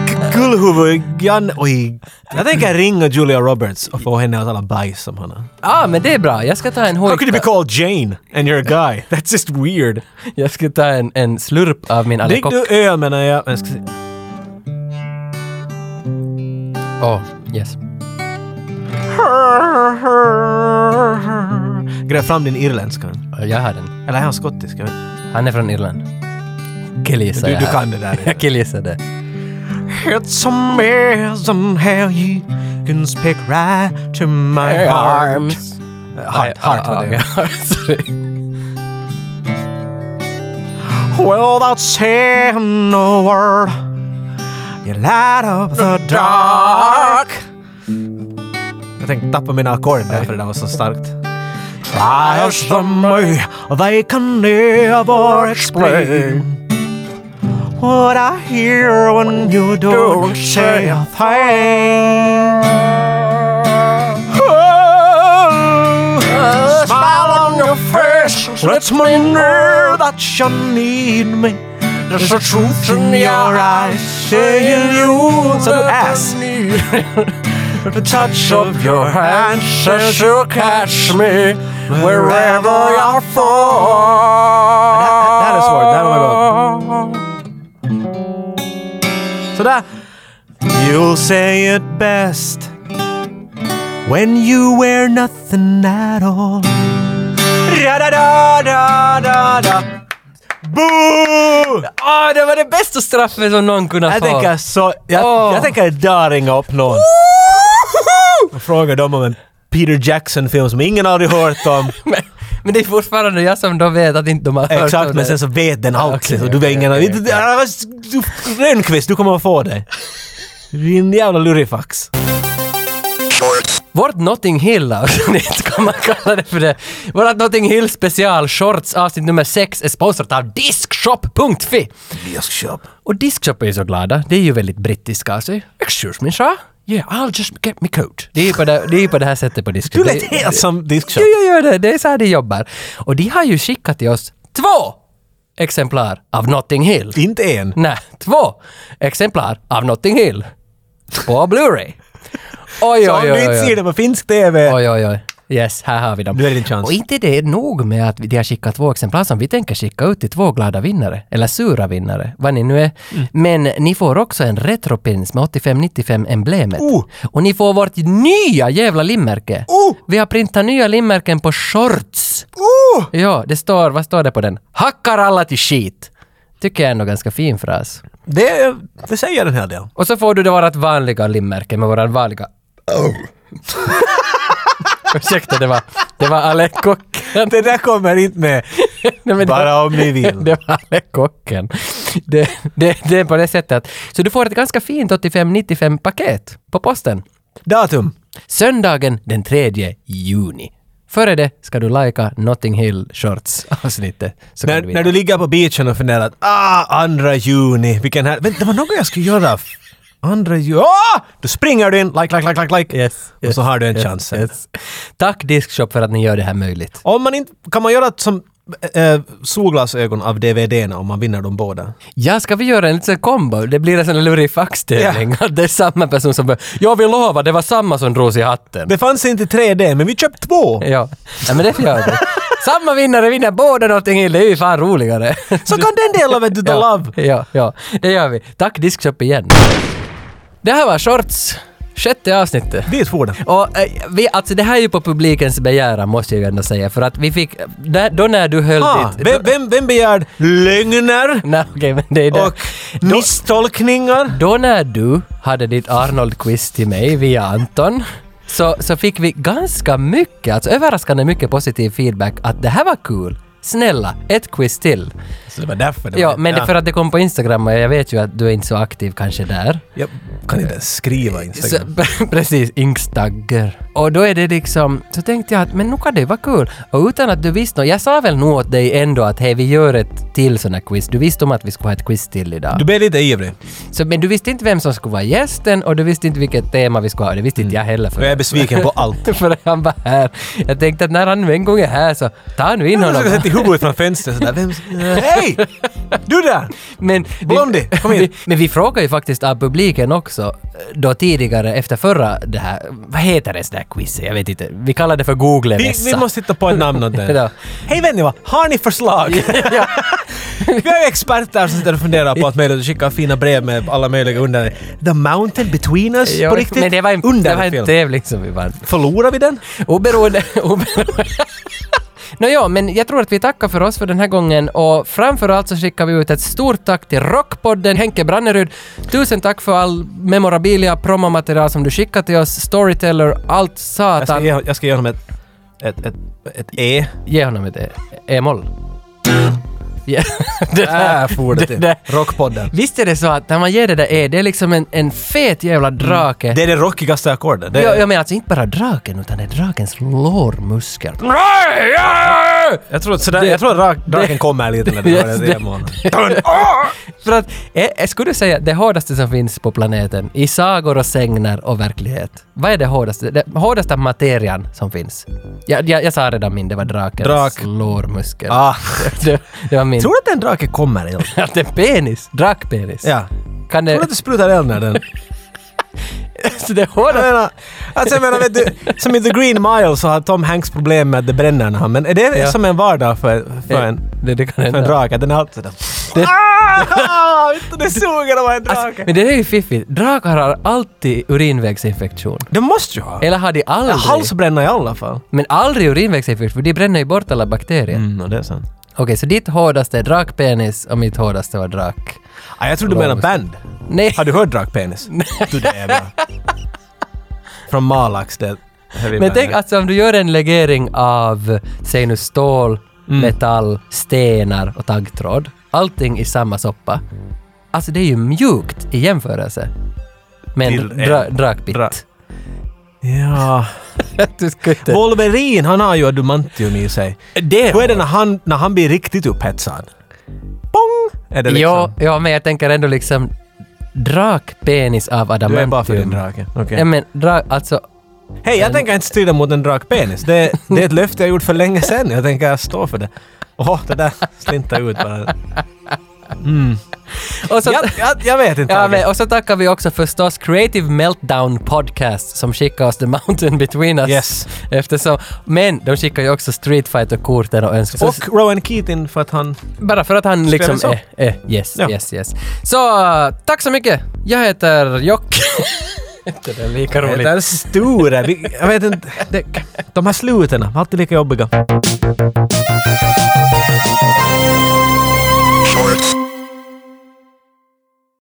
[SPEAKER 2] g- gullhuvud Janne... Oj. Jag tänker ringa Julia Roberts och få henne att alla bajs som han har.
[SPEAKER 1] Ah, men det är bra. Jag ska ta en
[SPEAKER 2] How could you
[SPEAKER 1] hojta.
[SPEAKER 2] be called Jane and you're a guy? That's just weird.
[SPEAKER 1] Jag ska ta en, en slurp av min
[SPEAKER 2] Drick
[SPEAKER 1] Alicoque.
[SPEAKER 2] du öl menar jag. jag ska se.
[SPEAKER 1] Åh, yes.
[SPEAKER 2] Gräv fram din irländska.
[SPEAKER 1] Jag har den.
[SPEAKER 2] Eller är han skottisk? Jag vet.
[SPEAKER 1] Han är från Irland. Killgissar
[SPEAKER 2] Du,
[SPEAKER 1] jag
[SPEAKER 2] du
[SPEAKER 1] här.
[SPEAKER 2] kan det där.
[SPEAKER 1] Jag killgissade.
[SPEAKER 2] It's amazing how you can speak right to my heart. Hart, Hart var det.
[SPEAKER 1] Sorry.
[SPEAKER 2] Without saying a word, you light up the dark. Jag tänkte tappa mina ackord där för det där var så starkt. Try as the may, they can never explain what I hear when you don't say a thing. Oh, smile on your face lets me know that you need me. There's a truth in your eyes saying you so ass. The touch of your hand says you catch me wherever I fall. That, that is hard. That one So that you'll say it best when you wear nothing at all. Da da da da da da. Boo!
[SPEAKER 1] Åh, Ah, det var det bästa straffet som någon kunde
[SPEAKER 2] Jag
[SPEAKER 1] få.
[SPEAKER 2] tänker så... Jag,
[SPEAKER 1] Åh.
[SPEAKER 2] jag tänker idag ringa upp någon och fråga dem om en Peter Jackson-film som ingen aldrig hört om.
[SPEAKER 1] Men, men det är fortfarande jag som då vet att inte de har hört
[SPEAKER 2] Exakt,
[SPEAKER 1] om
[SPEAKER 2] men
[SPEAKER 1] det.
[SPEAKER 2] sen så vet den allt.
[SPEAKER 1] Okej,
[SPEAKER 2] så du vet
[SPEAKER 1] okej,
[SPEAKER 2] ingen...
[SPEAKER 1] okej,
[SPEAKER 2] Okay, Rönnqvist, du kommer att få det. Din jävla lurifax.
[SPEAKER 1] Vårt Notting Hill avsnitt, kan man kalla det för det. Vårt Notting Hill special shorts avsnitt nummer 6 är sponsrat av Diskshop.fi.
[SPEAKER 2] Diskshop.
[SPEAKER 1] Och Diskshop är ju så glada, det är ju väldigt brittiska. Alltså, excuse me sir? Yeah, I'll just get me coat. Det är ju på det, det, är ju på det här sättet på
[SPEAKER 2] Du
[SPEAKER 1] Diskshop.
[SPEAKER 2] lät
[SPEAKER 1] Det-
[SPEAKER 2] helt som Diskshop.
[SPEAKER 1] Jo, jo, jo, det, det är så här de jobbar. Och de har ju skickat till oss två exemplar av Notting Hill.
[SPEAKER 2] Inte en.
[SPEAKER 1] Nej, två exemplar av Notting Hill. På Blu-ray. Oj, oj,
[SPEAKER 2] Så om
[SPEAKER 1] oj,
[SPEAKER 2] du inte
[SPEAKER 1] oj,
[SPEAKER 2] ser
[SPEAKER 1] oj.
[SPEAKER 2] det på finsk TV...
[SPEAKER 1] Oj, oj, oj. Yes, här har vi dem.
[SPEAKER 2] Nu är det din chans.
[SPEAKER 1] Och inte det är nog med att de har skickat två exemplar som vi tänker skicka ut till två glada vinnare. Eller sura vinnare, vad ni nu är.
[SPEAKER 2] Mm.
[SPEAKER 1] Men ni får också en retropins med 8595-emblemet.
[SPEAKER 2] Oh!
[SPEAKER 1] Och ni får vårt nya jävla limmärke.
[SPEAKER 2] Oh!
[SPEAKER 1] Vi har printat nya limmärken på shorts.
[SPEAKER 2] Oh!
[SPEAKER 1] Ja, det står, vad står det på den? Hackar alla till skit. Tycker jag är ändå ganska fin fras.
[SPEAKER 2] Det, det säger en hel del.
[SPEAKER 1] Och så får du då vårat vanliga limmärke med våran vanliga... Ursäkta, det var, det var Ale Kocken.
[SPEAKER 2] Det där kommer inte med.
[SPEAKER 1] Nej, men det var-
[SPEAKER 2] Bara om ni vill.
[SPEAKER 1] Det var Ale Kocken. Det, det, det är på det sättet att... Så du får ett ganska fint 85-95-paket på posten.
[SPEAKER 2] Datum.
[SPEAKER 1] Söndagen den 3 juni. Före det ska du lajka Notting Hill Shorts-avsnittet. så kan
[SPEAKER 2] När,
[SPEAKER 1] vinna.
[SPEAKER 2] när du ligger på beachen och funderar att ah, andra juni, vilken här... Men det var något jag skulle göra. Andra juni... Ah! Då springer du in, like, like, like, like, like.
[SPEAKER 1] Yes,
[SPEAKER 2] och så har du en chans. sen.
[SPEAKER 1] Tack Diskshop för att ni gör det här möjligt.
[SPEAKER 2] Om man inte... Kan man göra som äh, solglasögon av DVDn om man vinner dem båda?
[SPEAKER 1] Ja, ska vi göra en liten kombo? Det blir en sån här lurig faxtävling. Att det är samma person som bör- Ja, vi lovar, det var samma som drogs i hatten.
[SPEAKER 2] Det fanns inte i 3D, men vi köpte två.
[SPEAKER 1] Ja. ja, men det gör vi. samma vinnare vinner båda någonting Hill. Det är ju fan roligare.
[SPEAKER 2] Så kan den delen vet du ta
[SPEAKER 1] ja,
[SPEAKER 2] love.
[SPEAKER 1] ja, ja, det gör vi. Tack Diskshop igen. Det här var Shorts, sjätte avsnittet.
[SPEAKER 2] Dit for den.
[SPEAKER 1] Och eh, vi, alltså det här är ju på publikens begäran måste jag ju ändå säga för att vi fick, där, då när du höll
[SPEAKER 2] Ah,
[SPEAKER 1] ditt...
[SPEAKER 2] vem, vem, vem begärde lögner
[SPEAKER 1] Nej okej men det är det.
[SPEAKER 2] och misstolkningar?
[SPEAKER 1] Då när du hade ditt Arnold-quiz till mig via Anton så, så fick vi ganska mycket, alltså överraskande mycket positiv feedback att det här var kul. Snälla, ett quiz till.
[SPEAKER 2] Så det var därför det
[SPEAKER 1] Ja,
[SPEAKER 2] var
[SPEAKER 1] men det är för att det kom på Instagram och jag vet ju att du är inte så aktiv kanske där.
[SPEAKER 2] Jag kan inte ens skriva
[SPEAKER 1] Eh, Så,
[SPEAKER 2] Instagram.
[SPEAKER 1] precis, Instagger. Och då är det liksom, så tänkte jag att men nu kan det vara kul. Och utan att du visste något, jag sa väl nog åt dig ändå att hej vi gör ett till sån här quiz. Du visste om att vi skulle ha ett quiz till idag.
[SPEAKER 2] Du blev lite ivrig.
[SPEAKER 1] Så, men du visste inte vem som skulle vara gästen och du visste inte vilket tema vi skulle ha. Det visste inte jag heller. För
[SPEAKER 2] Mm. Jag är besviken på allt.
[SPEAKER 1] för han var här. Jag tänkte att när han nu en gång är här så ta nu in
[SPEAKER 2] Jag ska
[SPEAKER 1] honom.
[SPEAKER 2] sätta huvudet från fönstret sådär. Vem... Hej! Du där!
[SPEAKER 1] Men
[SPEAKER 2] Blondie, kom in.
[SPEAKER 1] vi, men vi frågar ju faktiskt av publiken också eh, då tidigare efter förra det här, vad heter det där quizet? Jag vet inte. Vi kallar det för
[SPEAKER 2] Vi,
[SPEAKER 1] Google-mässa.
[SPEAKER 2] vi måste hitta på ett namn åt
[SPEAKER 1] Ja.
[SPEAKER 2] det. Hej Venniva, har ni förslag?
[SPEAKER 1] ja.
[SPEAKER 2] Vi har ju experter som sitter och funderar på att möjligt att skicka fina brev med alla möjliga under. The mountain between us?
[SPEAKER 1] Ja,
[SPEAKER 2] på riktigt?
[SPEAKER 1] Men det var en, det var en
[SPEAKER 2] Underfilm.
[SPEAKER 1] tävling som vi vann.
[SPEAKER 2] Förlorar vi den?
[SPEAKER 1] Oberoende... oberoende. Nåja, men jag tror att vi tackar för oss för den här gången och framförallt så skickar vi ut ett stort tack till Rockpodden Henke Brannerud. Tusen tack för all memorabilia, promomaterial som du skickade till oss, Storyteller, allt
[SPEAKER 2] Jag ska,
[SPEAKER 1] satan.
[SPEAKER 2] ge, jag ska ge honom ett ett, ett, ett E.
[SPEAKER 1] Ge honom ett E- E-moll. Ja, det där.
[SPEAKER 2] Där for det till.
[SPEAKER 1] där.
[SPEAKER 2] Rockpodden.
[SPEAKER 1] Visst är det så att när man ger det där E, det är liksom en, en fet jävla drake.
[SPEAKER 2] Mm. Det är det rockigaste ackordet. Det,
[SPEAKER 1] Jag, jag menar alltså inte bara draken, utan det är drakens lårmuskel.
[SPEAKER 2] jag tror att, sådär, jag tror att rak, draken kommer lite när det
[SPEAKER 1] Yes,
[SPEAKER 2] gör det.
[SPEAKER 1] det-
[SPEAKER 2] i månaden.
[SPEAKER 1] För att, eh, eh, skulle du säga det hårdaste som finns på planeten, i sagor och sägner och verklighet, vad är det hårdaste? Det hårdaste materian som finns? Jag, jag, jag sa redan min, det var drakens
[SPEAKER 2] Drak.
[SPEAKER 1] lårmuskel.
[SPEAKER 2] Ah.
[SPEAKER 1] Det, det var min.
[SPEAKER 2] Tror du att en drake kommer eld?
[SPEAKER 1] Att det är penis? Drakpenis?
[SPEAKER 2] Ja.
[SPEAKER 1] Kan
[SPEAKER 2] Tror du
[SPEAKER 1] det...
[SPEAKER 2] att det sprutar eld när den...
[SPEAKER 1] Så det är
[SPEAKER 2] Jag
[SPEAKER 1] hårdaste...
[SPEAKER 2] menar, alltså jag menar, vet du, som i The Green Mile så har Tom Hanks problem med att det bränner när han... Men är det
[SPEAKER 1] Ja.
[SPEAKER 2] som en vardag för, för en...
[SPEAKER 1] Det, det kan
[SPEAKER 2] För en
[SPEAKER 1] hända.
[SPEAKER 2] drake, den är alltid sådär... Ah! Det suger att vara en
[SPEAKER 1] Alltså,
[SPEAKER 2] drake!
[SPEAKER 1] men det är ju fiffigt. Drakar har alltid urinvägsinfektion.
[SPEAKER 2] Det måste ju ha.
[SPEAKER 1] Eller har de aldrig?
[SPEAKER 2] Halsbränna i alla fall.
[SPEAKER 1] Men aldrig urinvägsinfektion, för de bränner ju bort alla bakterier.
[SPEAKER 2] Mm, och det är sant.
[SPEAKER 1] Okej, så ditt hårdaste är drakpenis och mitt hårdaste var drak...
[SPEAKER 2] Ah, jag tror du menar band.
[SPEAKER 1] Nej,
[SPEAKER 2] Har du hört Drakpenis? du det är bra. Från Malax, det heavy
[SPEAKER 1] men
[SPEAKER 2] band.
[SPEAKER 1] tänk alltså om du gör en legering av, säg nu stål,
[SPEAKER 2] Mm.
[SPEAKER 1] metall, stenar och taggtråd. Allting i samma soppa. Alltså det är ju mjukt i jämförelse. Med en
[SPEAKER 2] Till en
[SPEAKER 1] dra- drakbit.
[SPEAKER 2] dra- Ja.
[SPEAKER 1] du ska inte...
[SPEAKER 2] Wolverine, han har ju adamantium i sig.
[SPEAKER 1] Det
[SPEAKER 2] Hur är det när han, när han blir riktigt upphetsad? Pong! Är det liksom...
[SPEAKER 1] Ja, ja, men jag tänker ändå liksom drakpenis av
[SPEAKER 2] Du
[SPEAKER 1] adamantium.
[SPEAKER 2] är bara för din drake. Okej.
[SPEAKER 1] Ja, men dra, alltså,
[SPEAKER 2] Hej, jag tänker inte strida mot en drakpenis. Det, det är ett löfte jag gjort för länge sedan. Jag tänker stå för det. Åh, det där slintar ut bara.
[SPEAKER 1] och så,
[SPEAKER 2] Jag, jag, jag vet inte.
[SPEAKER 1] ja,
[SPEAKER 2] Tage.
[SPEAKER 1] men, och så tackar vi också förstås Creative Meltdown Podcast som skickar oss The Mountain Between Us.
[SPEAKER 2] Yes.
[SPEAKER 1] Eftersom, men de skickar ju också Street fighter korten och önskningar.
[SPEAKER 2] Och Rowan Keating för att han...
[SPEAKER 1] Bara för att han liksom...
[SPEAKER 2] så?
[SPEAKER 1] Eh, eh, yes,
[SPEAKER 2] Ja.
[SPEAKER 1] yes, yes. Så äh, tack så mycket! Jag heter Jock. det är lika
[SPEAKER 2] Det
[SPEAKER 1] roligt.
[SPEAKER 2] där är stora. Vi- Jag vet inte. Det, de här sluten, alltid lika jobbiga.